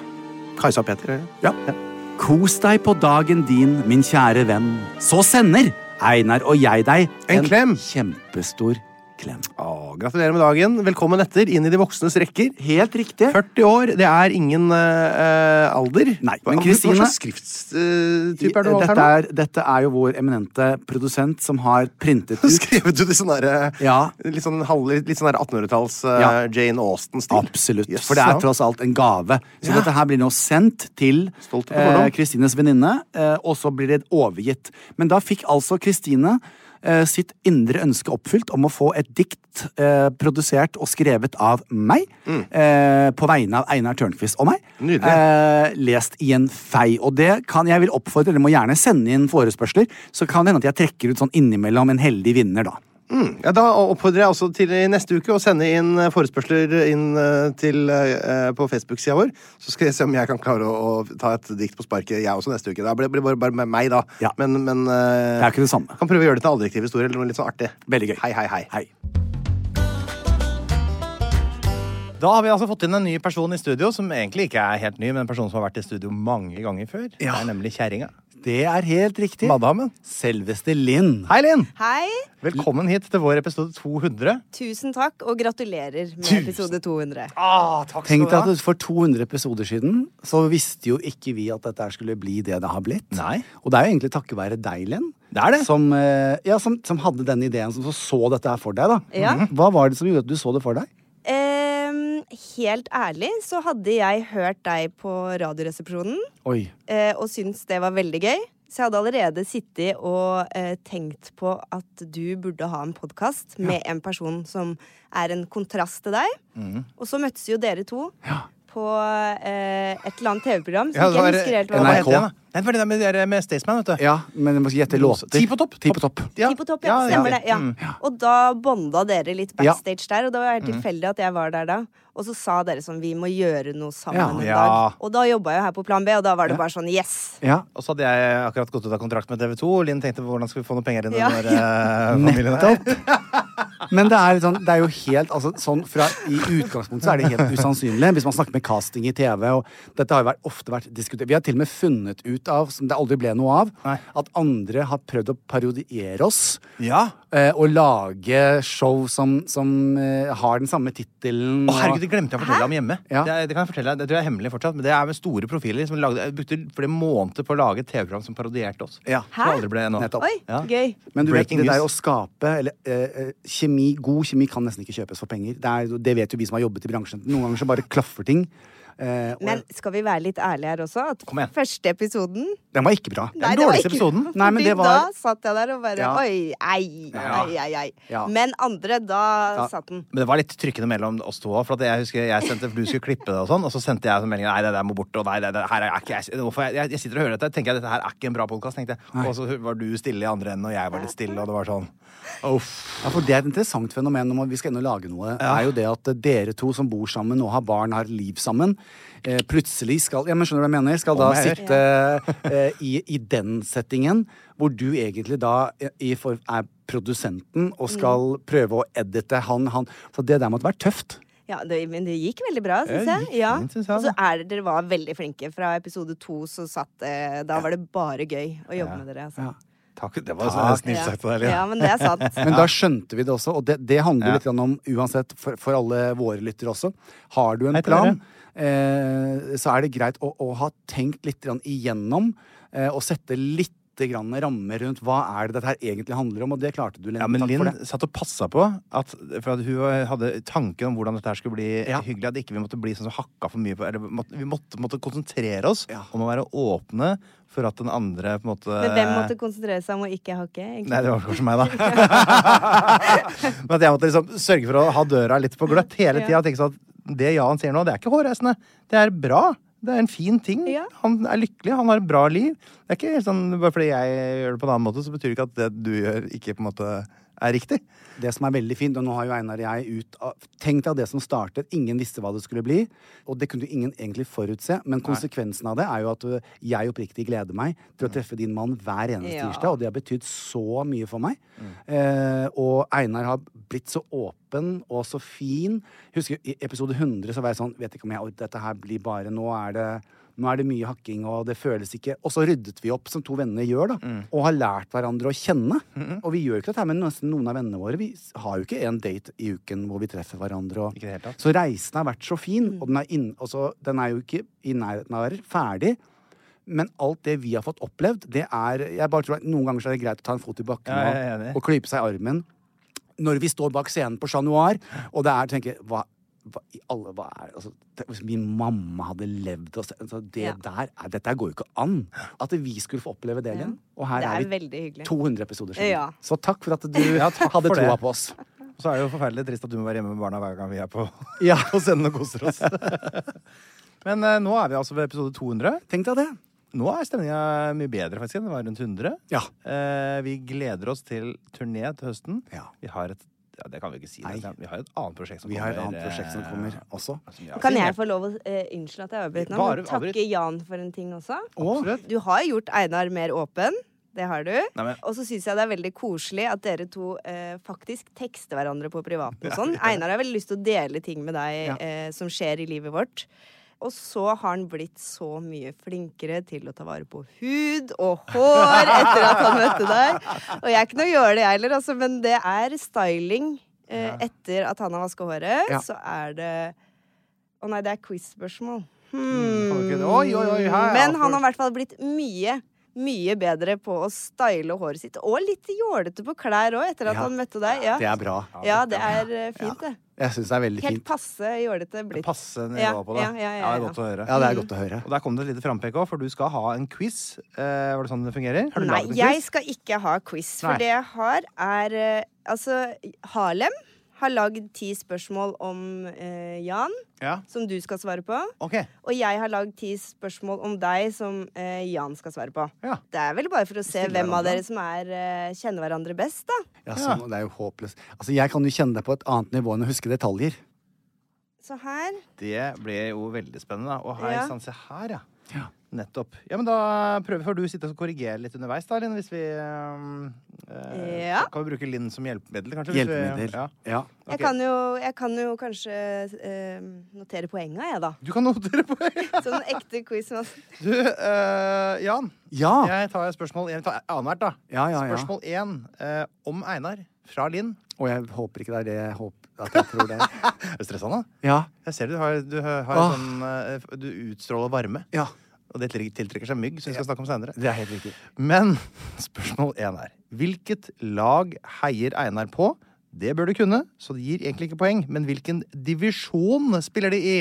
[SPEAKER 4] Kajsa og Peter, eller?
[SPEAKER 2] Kos deg på dagen din, min kjære venn. Så sender Einar og jeg deg
[SPEAKER 4] En klem.
[SPEAKER 2] kjempestor klem.
[SPEAKER 4] Å, gratulerer med dagen. Velkommen etter, inn i de voksnes rekker.
[SPEAKER 2] Helt riktig.
[SPEAKER 4] 40 år, det er ingen eh, alder.
[SPEAKER 2] Nei,
[SPEAKER 4] Hva-
[SPEAKER 2] men
[SPEAKER 4] hva-
[SPEAKER 2] Kristine-
[SPEAKER 4] Hva slags skriftstype er det du valgt her
[SPEAKER 2] Dette
[SPEAKER 4] nå?
[SPEAKER 2] er, dette er jo vår eminente produsent som har printet ut
[SPEAKER 4] Skrevet ut i sånn derre
[SPEAKER 2] Ja.
[SPEAKER 4] Litt sånn, halv- litt sånn der 1800-talls eh,
[SPEAKER 2] Ja.
[SPEAKER 4] Jane Austen-stil.
[SPEAKER 2] Absolutt.
[SPEAKER 4] Yes,
[SPEAKER 2] for det er
[SPEAKER 4] ja.
[SPEAKER 2] tross alt en gave. Så dette her blir nå sendt til eh,
[SPEAKER 4] Stolt og fordom.
[SPEAKER 2] Kristines venninne, eh, og så blir det overgitt. Men da fikk altså Kristine eh, sitt indre ønske oppfylt om å få et dikt eh, produsert og skrevet av meg. Eh, på vegne av Einar Tørnquist og meg.
[SPEAKER 4] Mm. Nydelig.
[SPEAKER 2] Eh, lest i en fei. Og det kan jeg vil oppfordre, dere må gjerne sende inn forespørsler, så kan det hende at jeg trekker ut sånn innimellom en heldig vinner, da.
[SPEAKER 4] Mm. Ja, da oppfordrer jeg også til i neste uke å sende inn eh, forespørsler inn eh, til, eh, på Facebook-sida vår. Så skal jeg se om jeg kan klare å, å ta et dikt på sparket, jeg også, neste uke. Da blir det bare, bare med meg, da.
[SPEAKER 2] Ja.
[SPEAKER 4] Men, men eh,
[SPEAKER 2] Det er ikke det samme.
[SPEAKER 4] Kan prøve å gjøre det til alldirektiv historie eller noe litt sånn artig.
[SPEAKER 2] Veldig gøy.
[SPEAKER 4] Hei, hei, hei.
[SPEAKER 2] Hei.
[SPEAKER 3] Da har vi altså fått inn en ny person i studio, som egentlig ikke er helt ny, men en person som har vært i studio mange ganger før. Det er nemlig kjerringa.
[SPEAKER 2] Det er helt riktig.
[SPEAKER 3] Madammen.
[SPEAKER 2] Selveste Linn.
[SPEAKER 3] Hei, Linn!
[SPEAKER 6] Hei,
[SPEAKER 3] Velkommen hit til vår episode 200.
[SPEAKER 6] tusen takk, og gratulerer med
[SPEAKER 3] Tusen.
[SPEAKER 6] episode 200.
[SPEAKER 3] Ah, takk
[SPEAKER 2] Tenk deg at for 200 episoder siden så visste jo ikke vi at dette her skulle bli det det har blitt.
[SPEAKER 3] Nei.
[SPEAKER 2] Og det er jo egentlig takket være deg, Len,
[SPEAKER 3] Det er det.
[SPEAKER 2] som, eh, ja, som, som hadde denne ideen, som så, så dette her for deg. da.
[SPEAKER 6] Ja.
[SPEAKER 2] Mhm. Hva var det som gjorde at du så det for deg?
[SPEAKER 6] Ehm, helt ærlig så hadde jeg hørt deg på Radioresepsjonen
[SPEAKER 2] Oi.
[SPEAKER 6] eh, og syntes det var veldig gøy. Så jeg hadde allerede sittet og eh, tenkt på at du burde ha en podkast med en person som er en kontrast til deg. Og så møttes jo dere to på eh, et eller annet TV-program som
[SPEAKER 3] Ja, det
[SPEAKER 6] ikke
[SPEAKER 3] var
[SPEAKER 6] jeg husker helt hva
[SPEAKER 3] Hva
[SPEAKER 6] var.
[SPEAKER 3] het det igjen, da? Nei, det var det der med, det der med Staysman, vet du.
[SPEAKER 2] Ja, men jeg må gjette låter.
[SPEAKER 3] Ti på topp.
[SPEAKER 2] Ti på topp.
[SPEAKER 3] Ja.
[SPEAKER 6] Ti på topp, ja. Stemmer det. Ja.
[SPEAKER 3] Mm.
[SPEAKER 6] Og da bonda dere litt
[SPEAKER 2] Ja.
[SPEAKER 6] backstage der, og det var helt tilfeldig at jeg var der da. Og så sa dere sånn Vi må gjøre noe
[SPEAKER 2] Ja.
[SPEAKER 6] sammen en
[SPEAKER 3] Ja.
[SPEAKER 6] dag. Og da jobba jeg her på Plan B, og da var det bare sånn Yes!
[SPEAKER 2] Ja.
[SPEAKER 3] Og så hadde jeg akkurat gått ut av kontrakt med TV2. og Linn tenkte hvordan skal vi få noen penger inn i
[SPEAKER 6] Ja.
[SPEAKER 3] den der, eh, familien her?
[SPEAKER 2] Nettopp. Men det er, sånn, det er jo helt altså, sånn fra, I utgangspunktet så er det helt usannsynlig hvis man snakker med casting i TV. Og dette har jo vært, ofte vært diskutert. Vi har til og med funnet ut av, som det aldri ble noe av,
[SPEAKER 3] Nei.
[SPEAKER 2] at andre har prøvd å parodiere oss.
[SPEAKER 3] Ja.
[SPEAKER 2] eh, Og lage show som, som eh, har den samme tittelen.
[SPEAKER 3] Å, herregud,
[SPEAKER 2] og-
[SPEAKER 3] det glemte jeg å fortelle om hjemme.
[SPEAKER 2] Ja.
[SPEAKER 3] Det, er- det kan jeg fortelle deg, det tror jeg er hemmelig fortsatt, men det er med store profiler som lagde, jeg brukte flere måneder på å lage et TV-program som parodierte oss.
[SPEAKER 2] Ja.
[SPEAKER 3] Som aldri ble noe.
[SPEAKER 2] Nettopp.
[SPEAKER 6] Oi,
[SPEAKER 3] Ja.
[SPEAKER 6] gøy.
[SPEAKER 2] Men du vet,
[SPEAKER 3] Breaking
[SPEAKER 2] det der å
[SPEAKER 3] news.
[SPEAKER 2] skape eller, eh, eh, kjemi, God kjemi kan nesten ikke kjøpes for penger. Det, er, det vet jo vi som har jobbet i bransjen. Noen ganger så bare klaffer ting. eh, og-
[SPEAKER 6] Men skal vi være litt ærlige her også? At
[SPEAKER 3] Kom igjen.
[SPEAKER 6] første episoden
[SPEAKER 2] den var ikke bra.
[SPEAKER 6] Nei, det var ikke
[SPEAKER 3] dårligste episoden.
[SPEAKER 2] Nei, men
[SPEAKER 6] Fordi
[SPEAKER 2] det var-
[SPEAKER 6] Da satt jeg der og bare
[SPEAKER 2] Ja.
[SPEAKER 6] Oi, ei, ei, ei, ei.
[SPEAKER 2] Ja.
[SPEAKER 6] Men andre, da satt den.
[SPEAKER 3] Men det var litt trykkende mellom oss to òg. For at jeg husker jeg sendte, for du skulle klippe det, og sånn Og så sendte jeg en melding Nei, det der må bort. Og nei, det, det her er ikke jeg, hvorfor jeg, jeg sitter og hører dette og tenker jeg, dette her er ikke en bra podkast. Og så var du stille i andre enden, og jeg var litt stille, og det var sånn Uff.
[SPEAKER 2] Ja, for Det er et interessant fenomen når man- vi skal inn og lage noe. er jo det at eh, dere to som bor sammen og har barn, har liv sammen, eh, plutselig skal ja, men skjønner du hva jeg mener, skal da
[SPEAKER 3] Om jeg hører.
[SPEAKER 2] sitte eh, i, i den settingen hvor du egentlig da eh, i for, er produsenten og skal prøve å edite han, han. Så det der måtte være tøft.
[SPEAKER 6] Ja, det, men det gikk veldig bra, syns
[SPEAKER 3] Ja, det
[SPEAKER 6] jeg.
[SPEAKER 3] gikk
[SPEAKER 6] Ja. Altså,
[SPEAKER 3] fint,
[SPEAKER 6] Og
[SPEAKER 3] synes jeg,
[SPEAKER 6] så er dere var veldig flinke. Fra episode to så satt eh, Da var det bare gøy å jobbe med dere. Altså.
[SPEAKER 3] Takk. Det var så snilt sagt av deg,
[SPEAKER 6] ja,
[SPEAKER 3] Linn.
[SPEAKER 6] men det er sant.
[SPEAKER 2] Men da skjønte vi det også, og det, det handler
[SPEAKER 3] Ja.
[SPEAKER 2] litt grann om, uansett, for, for alle våre lyttere også, har du en
[SPEAKER 3] Hei til
[SPEAKER 2] plan, eh, så er det greit å, å ha tenkt litt grann igjennom eh, og sette litt grann rammer rundt hva er det dette her egentlig handler om, og det klarte du, Linn.
[SPEAKER 3] Ja, men
[SPEAKER 2] Takk
[SPEAKER 3] Linn
[SPEAKER 2] for det.
[SPEAKER 3] satt og passa på at, for at hun hadde tanken om hvordan dette her skulle bli
[SPEAKER 2] Ja.
[SPEAKER 3] hyggelig. At ikke vi måtte bli sånn som hakka for mye på eller måtte, Vi måtte, måtte konsentrere oss
[SPEAKER 2] Ja.
[SPEAKER 3] om å være åpne for at den andre på en måte
[SPEAKER 6] Men hvem måtte konsentrere seg om å ikke hakke? egentlig?
[SPEAKER 3] Nei, det var kanskje meg, da. Men at jeg måtte liksom sørge for å ha døra litt på gløtt hele tida.
[SPEAKER 6] Ja.
[SPEAKER 3] Tenke sånn at det Jan sier nå, det er ikke hårreisende. Det er bra. Det er en fin ting.
[SPEAKER 6] Ja.
[SPEAKER 3] Han er lykkelig, han har et bra liv. Det er ikke helt sånn, Bare fordi jeg gjør det på en annen måte, så betyr det ikke at det du gjør, ikke på en måte er riktig.
[SPEAKER 2] Det som er veldig fint, og nå har jo Einar og jeg ut av Tenk deg det som startet, ingen visste hva det skulle bli, og det kunne jo ingen egentlig forutse, men konsekvensen av det er jo at ø, jeg oppriktig gleder meg til å treffe din mann hver eneste
[SPEAKER 6] Ja.
[SPEAKER 2] tirsdag, og det har betydd så mye for meg. Eh, og Einar har blitt så åpen og så fin. Husker i episode 100 så var jeg sånn Vet ikke om jeg orker dette her blir bare Nå er det Nå er det mye hakking, og det føles ikke Og så ryddet vi opp, som to venner gjør, da.
[SPEAKER 3] Mm.
[SPEAKER 2] Og har lært hverandre å kjenne. Og vi gjør jo ikke dette her med nesten noen av vennene våre. Vi har jo ikke en date i uken hvor vi treffer hverandre. Og...
[SPEAKER 3] Ikke i det hele tatt.
[SPEAKER 2] Så reisen har vært så fin, og den er, inn... og så- den er jo ikke i nærheten av å være ferdig. Men alt det vi har fått opplevd, det er Jeg bare tror at noen ganger så er det greit å ta en fot i bakken
[SPEAKER 3] Ja, jeg er enig.
[SPEAKER 2] og, og klype seg i armen. Når vi står bak scenen på Chat Noir, og det er tenker, jeg, hva, hva, i alle, hva er det? altså, det- Hvis min mamma hadde levd og se- altså, det
[SPEAKER 6] Ja.
[SPEAKER 2] der, er- Dette går jo ikke an! At vi skulle få oppleve det igjen. Og her
[SPEAKER 6] Det
[SPEAKER 2] er,
[SPEAKER 6] er
[SPEAKER 2] vi
[SPEAKER 6] veldig hyggelig.
[SPEAKER 2] 200 episoder siden.
[SPEAKER 6] Ja.
[SPEAKER 2] Så takk for at du hadde
[SPEAKER 3] for det.
[SPEAKER 2] troa på oss.
[SPEAKER 3] Så er det jo forferdelig trist at du må være hjemme med barna hver gang vi er på,
[SPEAKER 2] Ja.
[SPEAKER 3] på scenen og koser oss. Men eh, nå er vi altså ved episode 200.
[SPEAKER 2] Tenk deg det.
[SPEAKER 3] Nå er stemninga mye bedre faktisk enn den var rundt 100.
[SPEAKER 2] Ja.
[SPEAKER 3] Eh, vi gleder oss til turné til høsten.
[SPEAKER 2] Ja.
[SPEAKER 3] Vi har et ja, det kan vi ikke si.
[SPEAKER 2] Nei.
[SPEAKER 3] nesten. Vi har et annet prosjekt som
[SPEAKER 2] Vi har
[SPEAKER 3] kommer.
[SPEAKER 2] et annet prosjekt som
[SPEAKER 3] eh,
[SPEAKER 2] kommer også.
[SPEAKER 3] som vi har-
[SPEAKER 6] Kan jeg få lov å eh, Unnskyld at jeg avbryter nå,
[SPEAKER 3] Bare
[SPEAKER 6] men takke
[SPEAKER 3] avbryt.
[SPEAKER 6] Jan for en ting også.
[SPEAKER 3] Absolutt.
[SPEAKER 6] Du har gjort Einar mer åpen. Det har du.
[SPEAKER 3] Nei, men-
[SPEAKER 6] Og så syns jeg det er veldig koselig at dere to eh, faktisk tekster hverandre på privaten og sånn. Einar har veldig lyst til å dele ting med deg
[SPEAKER 2] Ja.
[SPEAKER 6] eh, som skjer i livet vårt. Og så har han blitt så mye flinkere til å ta vare på hud og hår etter at han møtte deg. Og jeg er ikke noe gjøre det, jeg heller, altså, men det er styling. Eh, etter at han har vaska håret,
[SPEAKER 2] Ja.
[SPEAKER 6] så er det Å nei, det er quiz-spørsmål.
[SPEAKER 3] Mm, kan du ikke det?
[SPEAKER 6] Hmm.
[SPEAKER 3] Oi, oi, oi, her,
[SPEAKER 6] Men
[SPEAKER 3] ja,
[SPEAKER 6] han
[SPEAKER 3] for-
[SPEAKER 6] har i hvert fall blitt mye, mye bedre på å style håret sitt. Og litt jålete på klær òg, etter at
[SPEAKER 2] Ja.
[SPEAKER 6] han møtte deg. Ja,
[SPEAKER 2] Det er bra.
[SPEAKER 6] ja det er eh, fint, det.
[SPEAKER 2] Jeg syns det er veldig
[SPEAKER 6] Helt
[SPEAKER 2] fint.
[SPEAKER 6] passe jålete blitt.
[SPEAKER 3] Passe nivå
[SPEAKER 6] Ja,
[SPEAKER 3] på det.
[SPEAKER 6] ja, ja, ja,
[SPEAKER 3] det er
[SPEAKER 6] ja.
[SPEAKER 3] godt å høre.
[SPEAKER 2] Ja, det er godt å høre.
[SPEAKER 3] Og der kom det et lite frampek òg, for du skal ha en quiz. Eh, var det sånn det fungerer? Har du
[SPEAKER 6] Nei,
[SPEAKER 3] laget en
[SPEAKER 6] jeg
[SPEAKER 3] quiz?
[SPEAKER 6] skal ikke ha quiz. For
[SPEAKER 3] Nei.
[SPEAKER 6] det jeg har, er eh, Altså, Harlem har lagd ti spørsmål om eh, Jan,
[SPEAKER 3] Ja.
[SPEAKER 6] som du skal svare på.
[SPEAKER 3] Ok.
[SPEAKER 6] Og jeg har lagd ti spørsmål om deg som eh, Jan skal svare på.
[SPEAKER 3] Ja.
[SPEAKER 6] Det er vel bare for å se
[SPEAKER 3] stiller
[SPEAKER 6] hvem av
[SPEAKER 3] hverandre.
[SPEAKER 6] dere som er, eh, kjenner hverandre best, da.
[SPEAKER 2] Ja, sånn, det er jo håpløst. Altså, jeg kan jo kjenne deg på et annet nivå enn å huske detaljer.
[SPEAKER 6] Så her
[SPEAKER 3] Det ble jo veldig spennende. Og hei
[SPEAKER 6] Ja.
[SPEAKER 3] sann, se her, ja. Nettopp. Ja, men da prøver får du sitte og korrigere litt underveis, da, Linn, hvis vi eh,
[SPEAKER 6] Ja.
[SPEAKER 3] Kan vi bruke Linn som hjelpemiddel, kanskje? hvis vi-
[SPEAKER 2] Hjelpemiddel.
[SPEAKER 3] Ja.
[SPEAKER 2] Ja.
[SPEAKER 6] jeg, kan jo, jeg kan jo kanskje eh, notere poenga, jeg, da.
[SPEAKER 3] Du kan notere på
[SPEAKER 6] Sånn ekte quizmaster.
[SPEAKER 3] Du, eh, Jan.
[SPEAKER 2] Ja.
[SPEAKER 3] Jeg tar spørsmål Jeg tar annethvert, da.
[SPEAKER 2] Ah. Ja, ja, ja.
[SPEAKER 3] Spørsmål én eh, om Einar fra Linn.
[SPEAKER 2] Og jeg håper ikke det er det jeg håper at jeg tror det er.
[SPEAKER 3] Er du stressa nå?
[SPEAKER 2] Ja.
[SPEAKER 3] Jeg ser du har, du har har
[SPEAKER 2] Åh.
[SPEAKER 3] sånn eh, Du utstråler varme.
[SPEAKER 2] Ah. ja.
[SPEAKER 3] Og det til- tiltrekker seg mygg, som vi skal snakke om senere.
[SPEAKER 2] Det er helt riktig.
[SPEAKER 3] Men spørsmål én er Hvilket lag heier Einar på? Det bør du kunne, så det gir egentlig ikke poeng. Men hvilken divisjon spiller de i?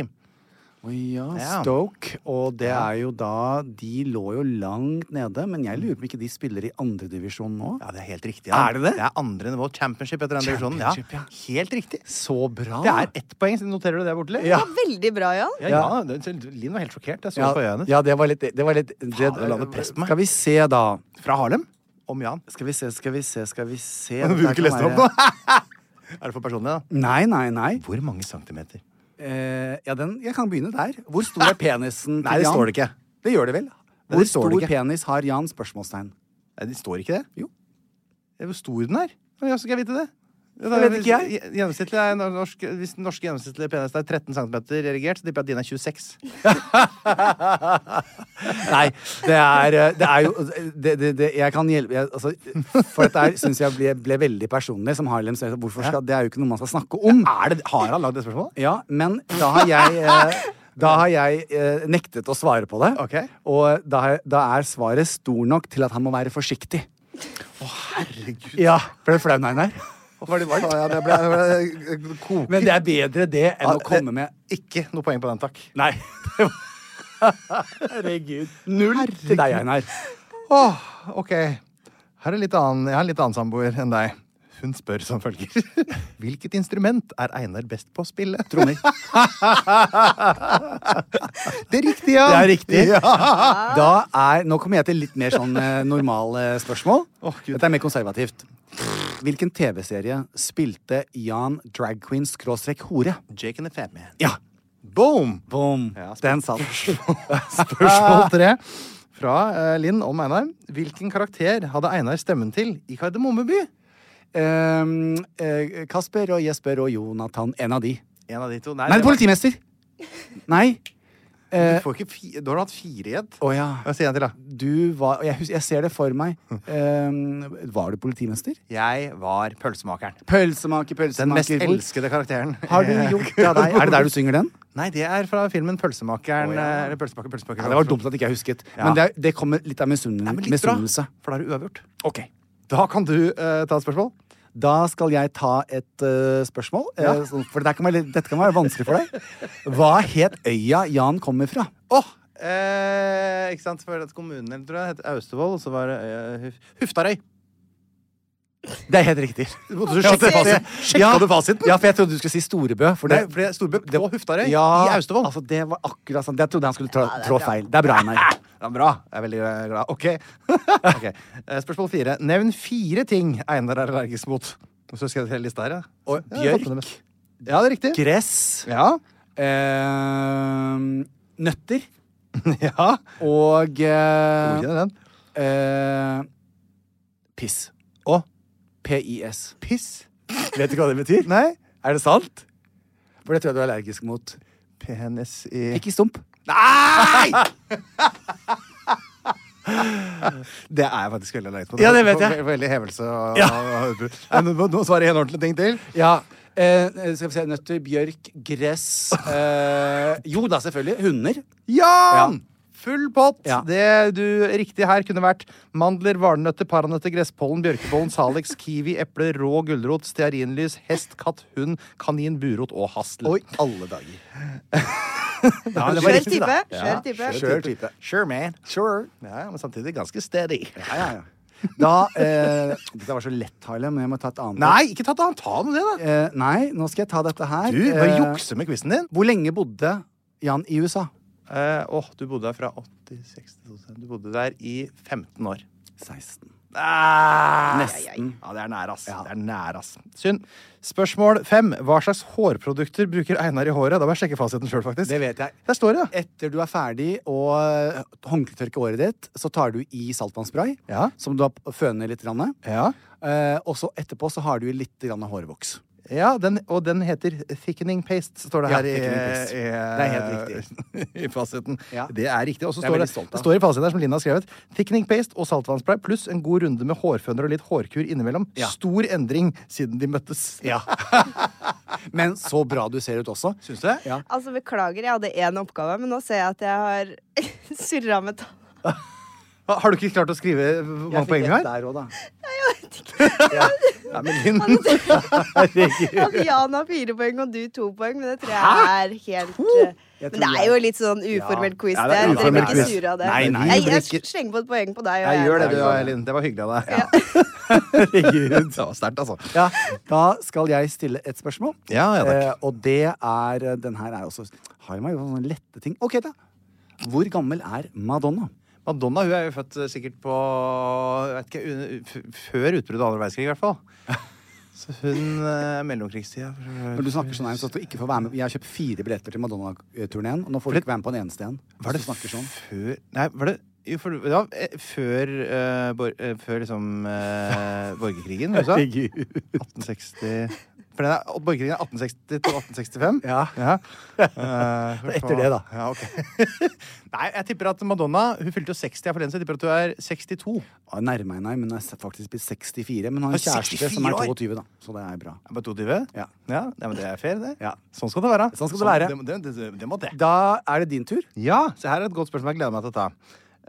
[SPEAKER 2] Å ja,
[SPEAKER 3] Ja.
[SPEAKER 2] Stoke. Og det er jo da De lå jo langt nede, men jeg lurer på om ikke de spiller i andredivisjon nå?
[SPEAKER 3] Ja, det er helt riktig.
[SPEAKER 2] Er det det?
[SPEAKER 3] Det er andre nivå. Championship etter den divisjonen. Ja.
[SPEAKER 2] Championship, ja.
[SPEAKER 3] Helt riktig.
[SPEAKER 2] Så bra!
[SPEAKER 3] Det er ett poeng, så noterer du det borti?
[SPEAKER 2] Ja.
[SPEAKER 6] Veldig bra, Jan.
[SPEAKER 3] Ja, ja. det- Linn var helt sjokkert. Jeg så det på øynene.
[SPEAKER 2] ja, det var litt Det, var litt, det
[SPEAKER 3] Fader, la det presse på meg.
[SPEAKER 2] Skal vi se, da.
[SPEAKER 3] Fra Harlem. Om Jan.
[SPEAKER 2] Skal vi se, skal vi se, skal vi se.
[SPEAKER 3] Du vil
[SPEAKER 2] Dette
[SPEAKER 3] ikke
[SPEAKER 2] kan
[SPEAKER 3] lese det opp
[SPEAKER 2] være-
[SPEAKER 3] nå? er det for personlig, da?
[SPEAKER 2] Nei, nei, nei.
[SPEAKER 3] Hvor mange centimeter?
[SPEAKER 2] Eh, ja, den, jeg kan begynne der. Hvor stor er penisen til
[SPEAKER 3] Nei, det
[SPEAKER 2] Jan?
[SPEAKER 3] står det ikke.
[SPEAKER 2] Det gjør det vel.
[SPEAKER 3] det
[SPEAKER 2] Hvor
[SPEAKER 3] står
[SPEAKER 2] stor
[SPEAKER 3] det ikke.
[SPEAKER 2] penis har Jan? Spørsmålstegn.
[SPEAKER 3] Nei, det står ikke det?
[SPEAKER 2] Jo.
[SPEAKER 3] Det er hvor stor den er. Hvordan skal jeg vite det? Det
[SPEAKER 2] Det vet ikke jeg.
[SPEAKER 3] gjen- Gjennomsnittlig er norsk, hvis den norske gjennomsnittlige penis er 13 cm erigert, så tipper jeg at din er 26.
[SPEAKER 2] Nei, det er, eh, det er jo det, det, det, Jeg kan hjelpe jeg, altså, For dette syns jeg ble, ble veldig personlig, som Harlem sier. Hvorfor skal, det er jo ikke noe man skal snakke om.
[SPEAKER 3] Er det, har han lagd det spørsmålet?
[SPEAKER 2] Ja, men da har jeg eh, Da har jeg eh, nektet å svare på det.
[SPEAKER 3] Ok.
[SPEAKER 2] Og da, har- da er svaret stor nok til at han må være forsiktig.
[SPEAKER 3] Herregud.
[SPEAKER 2] Ja, Ble du flau, Einar?
[SPEAKER 3] Var det varmt? Ja, det ble, det ble koket.
[SPEAKER 2] Men det er bedre det enn
[SPEAKER 3] Ja,
[SPEAKER 2] å komme med
[SPEAKER 3] Ikke noe poeng på den, takk.
[SPEAKER 2] Nei. Herregud. Null til deg, Einar.
[SPEAKER 3] Åh, ok. Her er litt annen, jeg har en litt annen samboer enn deg. Hun spør som følger. Hvilket instrument er Einar best på å spille? Trommer. det er riktig, ja.
[SPEAKER 2] Det er riktig. Da er, nå kommer jeg til litt mer sånn eh, normale spørsmål.
[SPEAKER 3] Åh, Gud.
[SPEAKER 2] Dette er mer konservativt. Hvilken TV-serie spilte Jan drag queen skråstrek hore?
[SPEAKER 3] Jake and the Fat Man.
[SPEAKER 2] Ja.
[SPEAKER 3] Boom!
[SPEAKER 2] Boom.
[SPEAKER 3] Ja, spør-
[SPEAKER 2] Den satt.
[SPEAKER 3] Spørsmål tre fra eh, Linn om Einar. Hvilken karakter hadde Einar stemmen til i Kardemommeby?
[SPEAKER 2] Ehm, eh, Kasper og Jesper og Jonathan. En av de.
[SPEAKER 3] En av de to. Nei,
[SPEAKER 2] Nei,
[SPEAKER 3] det var-
[SPEAKER 2] politimester! Nei.
[SPEAKER 3] Eh,
[SPEAKER 2] Du, får ikke fi du har hatt fire i ett.
[SPEAKER 3] Å ja.
[SPEAKER 2] Ja, Si en til, da.
[SPEAKER 3] Du var og jeg, hus- jeg ser det for meg.
[SPEAKER 2] Ehm,
[SPEAKER 3] Eh, var du politimester?
[SPEAKER 2] Jeg var pølsemakeren.
[SPEAKER 3] Pølsemaker,
[SPEAKER 2] Den mest
[SPEAKER 3] pølsemaker. hvor-
[SPEAKER 2] elskede karakteren.
[SPEAKER 3] Har du gjort det av deg? Er det der du synger den?
[SPEAKER 2] Nei, det er fra filmen Pølsemakeren. eh, eller Pølsemaker, pølsemaker.
[SPEAKER 3] Ja, det var dumt at ikke jeg husket.
[SPEAKER 2] Ja.
[SPEAKER 3] Men det, er- det kommer litt av misunnel-
[SPEAKER 2] Nei, men litt bra,
[SPEAKER 3] misunnelse.
[SPEAKER 2] for da er det uavgjort.
[SPEAKER 3] Ok.
[SPEAKER 2] Da kan du eh, ta et spørsmål.
[SPEAKER 3] Da skal jeg ta et eh, spørsmål. eh, sånn- for det kan være, litt- dette kan være vanskelig for deg. Hva het øya Jan kommer fra?
[SPEAKER 2] Åh! eh, ikke sant? For at kommunen tror jeg, het Austevoll, og så var det eh, Huf- Huftarøy.
[SPEAKER 3] Det er helt riktig. Du måtte
[SPEAKER 2] Ja, det-
[SPEAKER 3] ja.
[SPEAKER 2] Sjekka du fasiten?
[SPEAKER 3] Ja, for jeg trodde du skulle si Storebø. For
[SPEAKER 2] Nei,
[SPEAKER 3] det,
[SPEAKER 2] for det er Storbø på Huftarøy
[SPEAKER 3] ja,
[SPEAKER 2] i Austevoll.
[SPEAKER 3] Altså, det var akkurat sånn. Jeg trodde han skulle trå, trå feil. Det er bra, Einar.
[SPEAKER 2] Det er bra. Jeg er veldig eh, glad. Ok. Ok. Eh, Spørsmål fire. Nevn fire ting Einar er allergisk mot. Og så skal jeg til lista her, ja.
[SPEAKER 3] Og
[SPEAKER 2] Ja, jeg har fått med
[SPEAKER 3] bjørk.
[SPEAKER 2] det. Ja, det er riktig.
[SPEAKER 3] Gress.
[SPEAKER 2] Ja.
[SPEAKER 3] eh, nøtter.
[SPEAKER 2] ja.
[SPEAKER 3] Og eh,
[SPEAKER 2] Godkjenner den.
[SPEAKER 3] eh, Piss.
[SPEAKER 2] Å.
[SPEAKER 3] PIS.
[SPEAKER 2] Piss.
[SPEAKER 3] Vet du hva det betyr?
[SPEAKER 2] Nei.
[SPEAKER 3] Er det sant? For det tror jeg du er allergisk mot.
[SPEAKER 2] Penis i
[SPEAKER 3] Ikke stump.
[SPEAKER 2] Nei! Det er jeg faktisk veldig allergisk mot.
[SPEAKER 3] Ja, det vet jeg.
[SPEAKER 2] Ve- Veldig hevelse og,
[SPEAKER 3] Ja.
[SPEAKER 2] og utbrudd. Nei, men Nå nå svarer jeg en ordentlig ting til.
[SPEAKER 3] Ja. Eh, skal vi se. Nøtter, bjørk, gress eh, Jo da, selvfølgelig. Hunder.
[SPEAKER 2] Jan!
[SPEAKER 3] Ja.
[SPEAKER 2] Full pott!
[SPEAKER 3] Ja.
[SPEAKER 2] Det du riktig her kunne vært mandler, valnøtter, paranøtter, gresspollen, bjørkepollen, salix, kiwi, eple, rå gulrot, stearinlys, hest, katt, hund, kanin, burot og hastel.
[SPEAKER 3] Oi, alle dager.
[SPEAKER 2] Ja, det
[SPEAKER 6] Skjør
[SPEAKER 2] var riktig, da.
[SPEAKER 6] type.
[SPEAKER 2] Ja,
[SPEAKER 6] Skjør type.
[SPEAKER 3] Skjør type.
[SPEAKER 2] Sure, man. Ja, men samtidig ganske steady.
[SPEAKER 3] Ja, ja, ja. Da eh, Dette var så lett, Harlem, men jeg må ta et annet.
[SPEAKER 2] Nei, ikke ta det an. Ta nå det, da.
[SPEAKER 3] Eh, nei, nå skal jeg ta dette her.
[SPEAKER 2] Du bare
[SPEAKER 3] Eh,
[SPEAKER 2] jukser med quizen din.
[SPEAKER 3] Hvor lenge bodde Jan i USA?
[SPEAKER 2] Eh, Åh, du bodde der fra 80, 60, 2000. Du bodde der i 15 år.
[SPEAKER 3] 16.
[SPEAKER 2] Nesten. Ja, det er nær, ass. Det er nær, ass. Synd. Spørsmål fem. Hva slags hårprodukter bruker Einar i håret? Da må jeg sjekke fasiten sjøl, faktisk.
[SPEAKER 3] Det vet jeg.
[SPEAKER 2] Der står det, ja.
[SPEAKER 3] Etter du er ferdig og eh, håndkletørker håret ditt, så tar du i saltvannsspray,
[SPEAKER 2] Ja.
[SPEAKER 3] som du har p- føner litt. Grann.
[SPEAKER 2] Ja,
[SPEAKER 3] Eh, og så etterpå så har du i litt grann hårvoks.
[SPEAKER 2] ja den, og den heter thickening paste, står det
[SPEAKER 3] Ja,
[SPEAKER 2] her i,
[SPEAKER 3] thickening paste.
[SPEAKER 2] i,
[SPEAKER 3] Det er helt
[SPEAKER 2] i fasiten.
[SPEAKER 3] Ja.
[SPEAKER 2] Det er riktig. Og så
[SPEAKER 3] Det er
[SPEAKER 2] står
[SPEAKER 3] veldig
[SPEAKER 2] det,
[SPEAKER 3] stolt av.
[SPEAKER 2] det står i fasiten her, som Lina har skrevet, thickening paste og saltvannspray pluss en god runde med hårføner og litt hårkur innimellom.
[SPEAKER 3] Ja.
[SPEAKER 2] Stor endring siden de møttes.
[SPEAKER 3] Men så bra du ser ut også.
[SPEAKER 2] Syns du det?
[SPEAKER 3] Ja.
[SPEAKER 6] Altså, beklager, jeg hadde én oppgave, men nå ser jeg at jeg har surra med tall.
[SPEAKER 2] Ha- Har du ikke klart å skrive eh, hvor mange poeng du
[SPEAKER 3] ett
[SPEAKER 2] har?
[SPEAKER 3] der òg, da.
[SPEAKER 2] Nei, men Linn Herregud.
[SPEAKER 6] At Jan har fire poeng og du to poeng, men det tror jeg er helt eh,
[SPEAKER 3] Jeg
[SPEAKER 6] Men
[SPEAKER 3] tror
[SPEAKER 6] det er
[SPEAKER 3] jeg-
[SPEAKER 6] jo litt sånn uformell quiz,
[SPEAKER 2] Ja,
[SPEAKER 6] det.
[SPEAKER 2] det er
[SPEAKER 6] Dere blir
[SPEAKER 2] uformell
[SPEAKER 6] ikke
[SPEAKER 2] quiz.
[SPEAKER 6] sure av det.
[SPEAKER 3] Nei, nei,
[SPEAKER 6] jeg,
[SPEAKER 2] vi blir
[SPEAKER 6] jeg
[SPEAKER 2] ikke-
[SPEAKER 6] slenger på et poeng på deg. og
[SPEAKER 2] Jeg
[SPEAKER 6] jeg-
[SPEAKER 2] gjør det, du Linn. Det var hyggelig av deg. Herregud. Det var sterkt, altså.
[SPEAKER 3] Ja, da skal jeg stille et spørsmål.
[SPEAKER 2] Ja, ja takk.
[SPEAKER 3] Eh, og det er eh, Den her er også Har jo meg sånne lette ting. Ok, da. Hvor gammel er Madonna?
[SPEAKER 2] Madonna hun er jo født eh, sikkert på jeg vet ikke, un- f- Før utbruddet av andre verdenskrig, i hvert fall. Så hun eh, mellomkrigstida
[SPEAKER 3] Når du snakker sånn her, så at du ikke får være med Jeg har kjøpt fire billetter til Madonna-turneen, og nå får du ikke være med på en eneste en.
[SPEAKER 2] Var det
[SPEAKER 3] Hvis du snakker sånn.
[SPEAKER 2] før Nei, var det jo, for, ja, eh, før, eh, bor, eh, før liksom eh, borgerkrigen i USA. 1860 For den er, borgerkrigen er 1860 til 1865.
[SPEAKER 3] Ja.
[SPEAKER 2] Eh,
[SPEAKER 3] Etter det, da.
[SPEAKER 2] Ja, ok. Nei, jeg tipper at Madonna Hun fylte jo 60 her forleden, så jeg tipper at hun er 62.
[SPEAKER 3] Jeg nærmer Ah, meg, nei, men hun er faktisk blitt 64. Men hun har en
[SPEAKER 2] Hun er
[SPEAKER 3] kjæreste som er
[SPEAKER 2] 64 år?
[SPEAKER 3] 22, da. Så det er bra.
[SPEAKER 2] Er bare 22?
[SPEAKER 3] Ja.
[SPEAKER 2] ja nei, men det er fair, det.
[SPEAKER 3] Ja.
[SPEAKER 2] Sånn skal det være.
[SPEAKER 3] Sånn skal det være.
[SPEAKER 2] Det, det, det, det må det.
[SPEAKER 3] Da er det din tur.
[SPEAKER 2] Ja, se her er et godt spørsmål jeg gleder meg til å ta.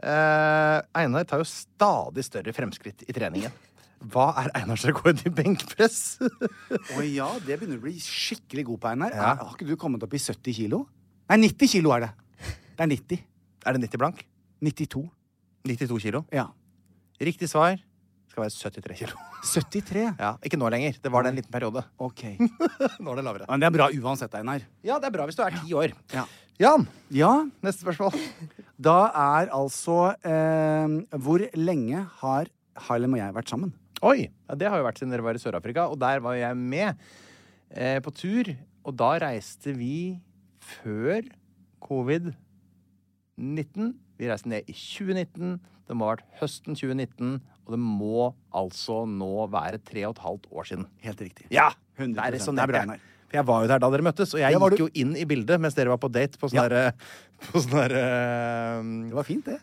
[SPEAKER 2] Eh, Einar tar jo stadig større fremskritt i treningen. Hva er Einars rekord i benkpress?
[SPEAKER 3] Å ja, det begynner du å bli skikkelig god på, Einar.
[SPEAKER 2] Ja.
[SPEAKER 3] Er- Har ikke du kommet opp i 70 kilo? Nei, 90 kilo er det. Det er 90.
[SPEAKER 2] er det 90 blank?
[SPEAKER 3] 92.
[SPEAKER 2] 92 kilo.
[SPEAKER 3] Ja.
[SPEAKER 2] Riktig svar skal være 73 kilo.
[SPEAKER 3] 73.
[SPEAKER 2] Ja, Ikke nå lenger. Det var det en liten periode.
[SPEAKER 3] Ok.
[SPEAKER 2] Nå er det lavere.
[SPEAKER 3] Men det er bra uansett, Einar.
[SPEAKER 2] Ja, det er bra hvis du er ti år.
[SPEAKER 3] Ja.
[SPEAKER 2] Jan,
[SPEAKER 3] Ja,
[SPEAKER 2] neste spørsmål.
[SPEAKER 3] Da er altså eh, Hvor lenge har Harlem og jeg vært sammen?
[SPEAKER 2] Oi! Ja, det har jo vært siden dere var i Sør-Afrika, og der var jeg med eh, på tur. Og da reiste vi før covid-19. Vi reiste ned i 2019. Det må ha vært høsten 2019, og det må altså nå være tre og et halvt år siden.
[SPEAKER 3] Helt riktig.
[SPEAKER 2] Ja!
[SPEAKER 3] 100%.
[SPEAKER 2] Der resonnerte
[SPEAKER 3] Det er bra, Einar.
[SPEAKER 2] jeg. For
[SPEAKER 3] For jeg var jo der da dere møttes, og jeg
[SPEAKER 2] Ja, var
[SPEAKER 3] gikk
[SPEAKER 2] du-
[SPEAKER 3] jo inn i bildet mens dere var på date på sånn
[SPEAKER 2] Ja.
[SPEAKER 3] derre På sånn derre Det
[SPEAKER 2] Det var fint,
[SPEAKER 3] ja,
[SPEAKER 2] det.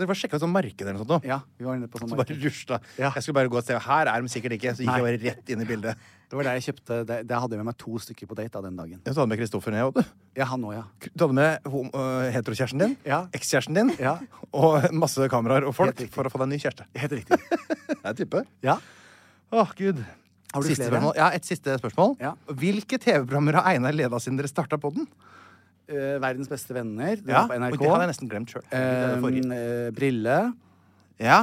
[SPEAKER 3] Dere var sjekka ut sånn marked eller noe sånt. nå.
[SPEAKER 2] Ja, vi var inne på sånn
[SPEAKER 3] Så bare
[SPEAKER 2] marked.
[SPEAKER 3] rusla.
[SPEAKER 2] Ja.
[SPEAKER 3] Jeg skulle bare gå et sted. Her er de sikkert ikke. Så gikk
[SPEAKER 2] Nei.
[SPEAKER 3] jeg bare rett inn i bildet.
[SPEAKER 2] Det var der jeg kjøpte det, det hadde jeg med meg to stykker på date da, den dagen.
[SPEAKER 3] Ja, så hadde du med Kristoffer ned, vet du.
[SPEAKER 2] Ja, han òg, ja.
[SPEAKER 3] Du hadde med hom- øh, heterokjæresten din,
[SPEAKER 2] Ja.
[SPEAKER 3] ekskjæresten din
[SPEAKER 2] Ja.
[SPEAKER 3] og masse kameraer og folk
[SPEAKER 2] Helt riktig.
[SPEAKER 3] for å få deg en ny kjæreste.
[SPEAKER 2] Helt riktig.
[SPEAKER 3] Jeg tipper.
[SPEAKER 2] Ja.
[SPEAKER 3] Åh, Gud.
[SPEAKER 2] Har du
[SPEAKER 3] siste
[SPEAKER 2] flere?
[SPEAKER 3] Spørsmål. Ja, Et siste spørsmål.
[SPEAKER 2] Ja.
[SPEAKER 3] Hvilke TV-programmer har Einar leda siden dere starta på den?
[SPEAKER 2] Eh, verdens beste venner. Det var på
[SPEAKER 3] Og
[SPEAKER 2] NRK.
[SPEAKER 3] det hadde jeg nesten glemt sjøl.
[SPEAKER 2] Eh, eh, brille.
[SPEAKER 3] ja.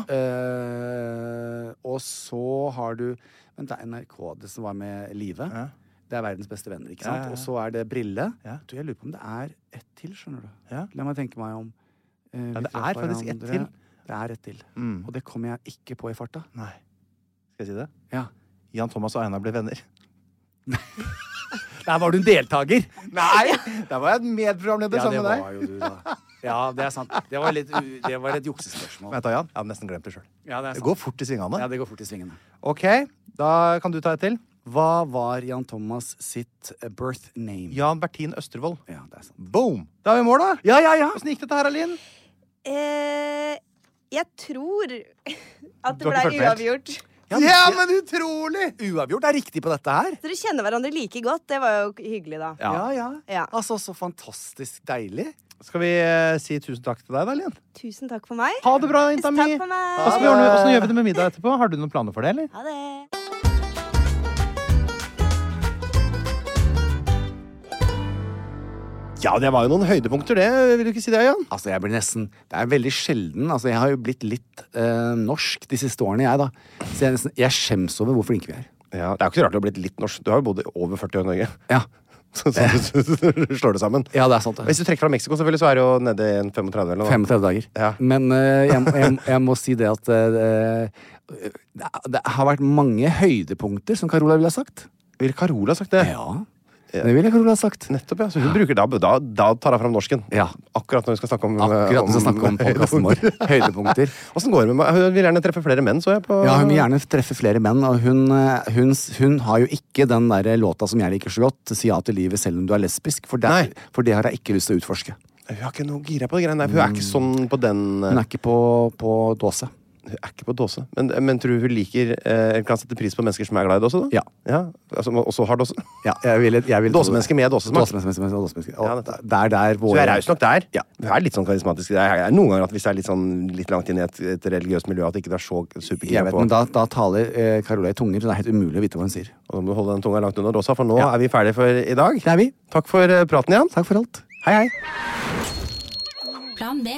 [SPEAKER 2] Eh, og så har du Vent, det er NRK, det som var med Live.
[SPEAKER 3] Ja.
[SPEAKER 2] Det er Verdens beste venner, ikke
[SPEAKER 3] Ja,
[SPEAKER 2] sant?
[SPEAKER 3] ja, ja.
[SPEAKER 2] Og så er det Brille.
[SPEAKER 3] Ja.
[SPEAKER 2] Du, jeg lurer på om det er ett til, skjønner du.
[SPEAKER 3] Ja.
[SPEAKER 2] La meg tenke meg om. Eh, vi
[SPEAKER 3] det
[SPEAKER 2] traff
[SPEAKER 3] er faktisk ett
[SPEAKER 2] hverandre.
[SPEAKER 3] til.
[SPEAKER 2] Det er ett til.
[SPEAKER 3] Mm.
[SPEAKER 2] Og det kommer jeg ikke på i farta.
[SPEAKER 3] Nei. Skal jeg si det?
[SPEAKER 2] Ja.
[SPEAKER 3] Jan Thomas og Einar ble venner.
[SPEAKER 2] Der var du en deltaker!
[SPEAKER 3] Nei! Der var jeg medprogramleder
[SPEAKER 2] Ja, det
[SPEAKER 3] sammen med deg.
[SPEAKER 2] var jo du, da. Ja, det er sant. Det var, litt, u- det var et juksespørsmål.
[SPEAKER 3] Vet du, Jan? Jeg hadde nesten glemt det sjøl.
[SPEAKER 2] Ja, det er
[SPEAKER 3] Det
[SPEAKER 2] sant.
[SPEAKER 3] går fort i svingene.
[SPEAKER 2] Ja, det går fort i svingene.
[SPEAKER 3] OK, da kan du ta et til.
[SPEAKER 2] Hva var Jan Thomas sitt eh, birth name?
[SPEAKER 3] Jan Bertin Østervold.
[SPEAKER 2] Ja, det er sant.
[SPEAKER 3] Boom! Da er vi i mål, da.
[SPEAKER 2] Ja, ja, ja!
[SPEAKER 3] Åssen gikk dette her, Alin?
[SPEAKER 6] Eh, jeg tror at
[SPEAKER 3] Du
[SPEAKER 6] det ble
[SPEAKER 3] har ikke fulgt med helt.
[SPEAKER 6] uavgjort.
[SPEAKER 3] Ja, men utrolig!
[SPEAKER 2] Uavgjort er riktig på dette her.
[SPEAKER 6] Dere kjenner hverandre like godt. Det var jo hyggelig, da.
[SPEAKER 2] Ja, ja.
[SPEAKER 6] Ja.
[SPEAKER 2] Altså, så fantastisk deilig.
[SPEAKER 3] Skal vi eh, si tusen takk til deg, da, Alin?
[SPEAKER 6] Tusen takk for meg.
[SPEAKER 3] Ha det bra, jenta mi.
[SPEAKER 6] Takk for meg.
[SPEAKER 3] Åssen gjør du- åssen gjør vi det med middag etterpå? Har du noen planer for det, eller?
[SPEAKER 6] Ha det.
[SPEAKER 3] Ja, det var jo noen høydepunkter, det. Vil du ikke si det, Jan?
[SPEAKER 2] Altså, jeg blir nesten Det er veldig sjelden Altså, jeg har jo blitt litt eh, norsk de siste årene, jeg, da. Så jeg, nesten, jeg skjems over hvor flinke vi er.
[SPEAKER 3] Ja, Det er jo ikke så rart du har blitt litt norsk. Du har jo bodd i over 40 år i Norge.
[SPEAKER 2] Ja.
[SPEAKER 3] Så, så, så, så, så slår det sammen.
[SPEAKER 2] Ja, det er sant, det.
[SPEAKER 3] Hvis du trekker fra Mexico, selvfølgelig, så er det jo nede i en 35 eller noe.
[SPEAKER 2] 35 dager.
[SPEAKER 3] Ja.
[SPEAKER 2] Men eh, jeg, jeg, jeg må si det at eh, det, det har vært mange høydepunkter, som Carola ville ha sagt.
[SPEAKER 3] Vil Carola ha sagt det?
[SPEAKER 2] Ja. Det ville Carola ha sagt.
[SPEAKER 3] Nettopp, ja. Så hun bruker da, da, da tar hun fram norsken.
[SPEAKER 2] Ja.
[SPEAKER 3] Akkurat når hun skal snakke om
[SPEAKER 2] Akkurat når vi skal snakke om podkasten vår. Høydepunkter.
[SPEAKER 3] Åssen går det med Hun vil gjerne treffe flere menn, så jeg. på...
[SPEAKER 2] Ja, hun vil gjerne treffe flere menn, og hun, eh, hun, s- hun har jo ikke den der eh, låta som jeg liker så godt, 'Si ja til livet selv om du er lesbisk', for
[SPEAKER 3] Nei.
[SPEAKER 2] det, for det har jeg ikke lyst til å utforske.
[SPEAKER 3] Hun er ikke noe gira på de greiene der. for Hun er ikke sånn på den
[SPEAKER 2] Hun er ikke på, på dåse.
[SPEAKER 3] Hun er ikke på dåse. Men, eh, men tror du hun liker eh, Kan sette pris på mennesker som er glad i dåse? da?
[SPEAKER 2] Ja.
[SPEAKER 3] Altså, også har dåse?
[SPEAKER 2] Ja, jeg ville- jeg ville-
[SPEAKER 3] Dåsemenneske med dåsesmak.
[SPEAKER 2] Dåsemenneske med dåsemenneske.
[SPEAKER 3] Ja,
[SPEAKER 2] Og
[SPEAKER 3] nettopp.
[SPEAKER 2] det er der
[SPEAKER 3] Så
[SPEAKER 2] våre
[SPEAKER 3] hun er raus nok der.
[SPEAKER 2] Ja.
[SPEAKER 3] Hun er litt sånn karismatisk. Det er noen ganger at hvis det er litt, sånn, litt langt inn i et, et religiøst miljø, at ikke det er så
[SPEAKER 2] Jeg
[SPEAKER 3] supergira
[SPEAKER 2] vet,
[SPEAKER 3] på
[SPEAKER 2] men da, da taler eh, Carola i tunger, så det er helt umulig å vite hva hun sier.
[SPEAKER 3] Og Da må du holde den tunga langt unna dåsa, for nå
[SPEAKER 2] Ja.
[SPEAKER 3] er vi ferdige for i dag.
[SPEAKER 2] Det er vi.
[SPEAKER 3] Takk for eh, praten, Jan.
[SPEAKER 2] Takk for alt.
[SPEAKER 3] Hei, hei.
[SPEAKER 7] Plan B.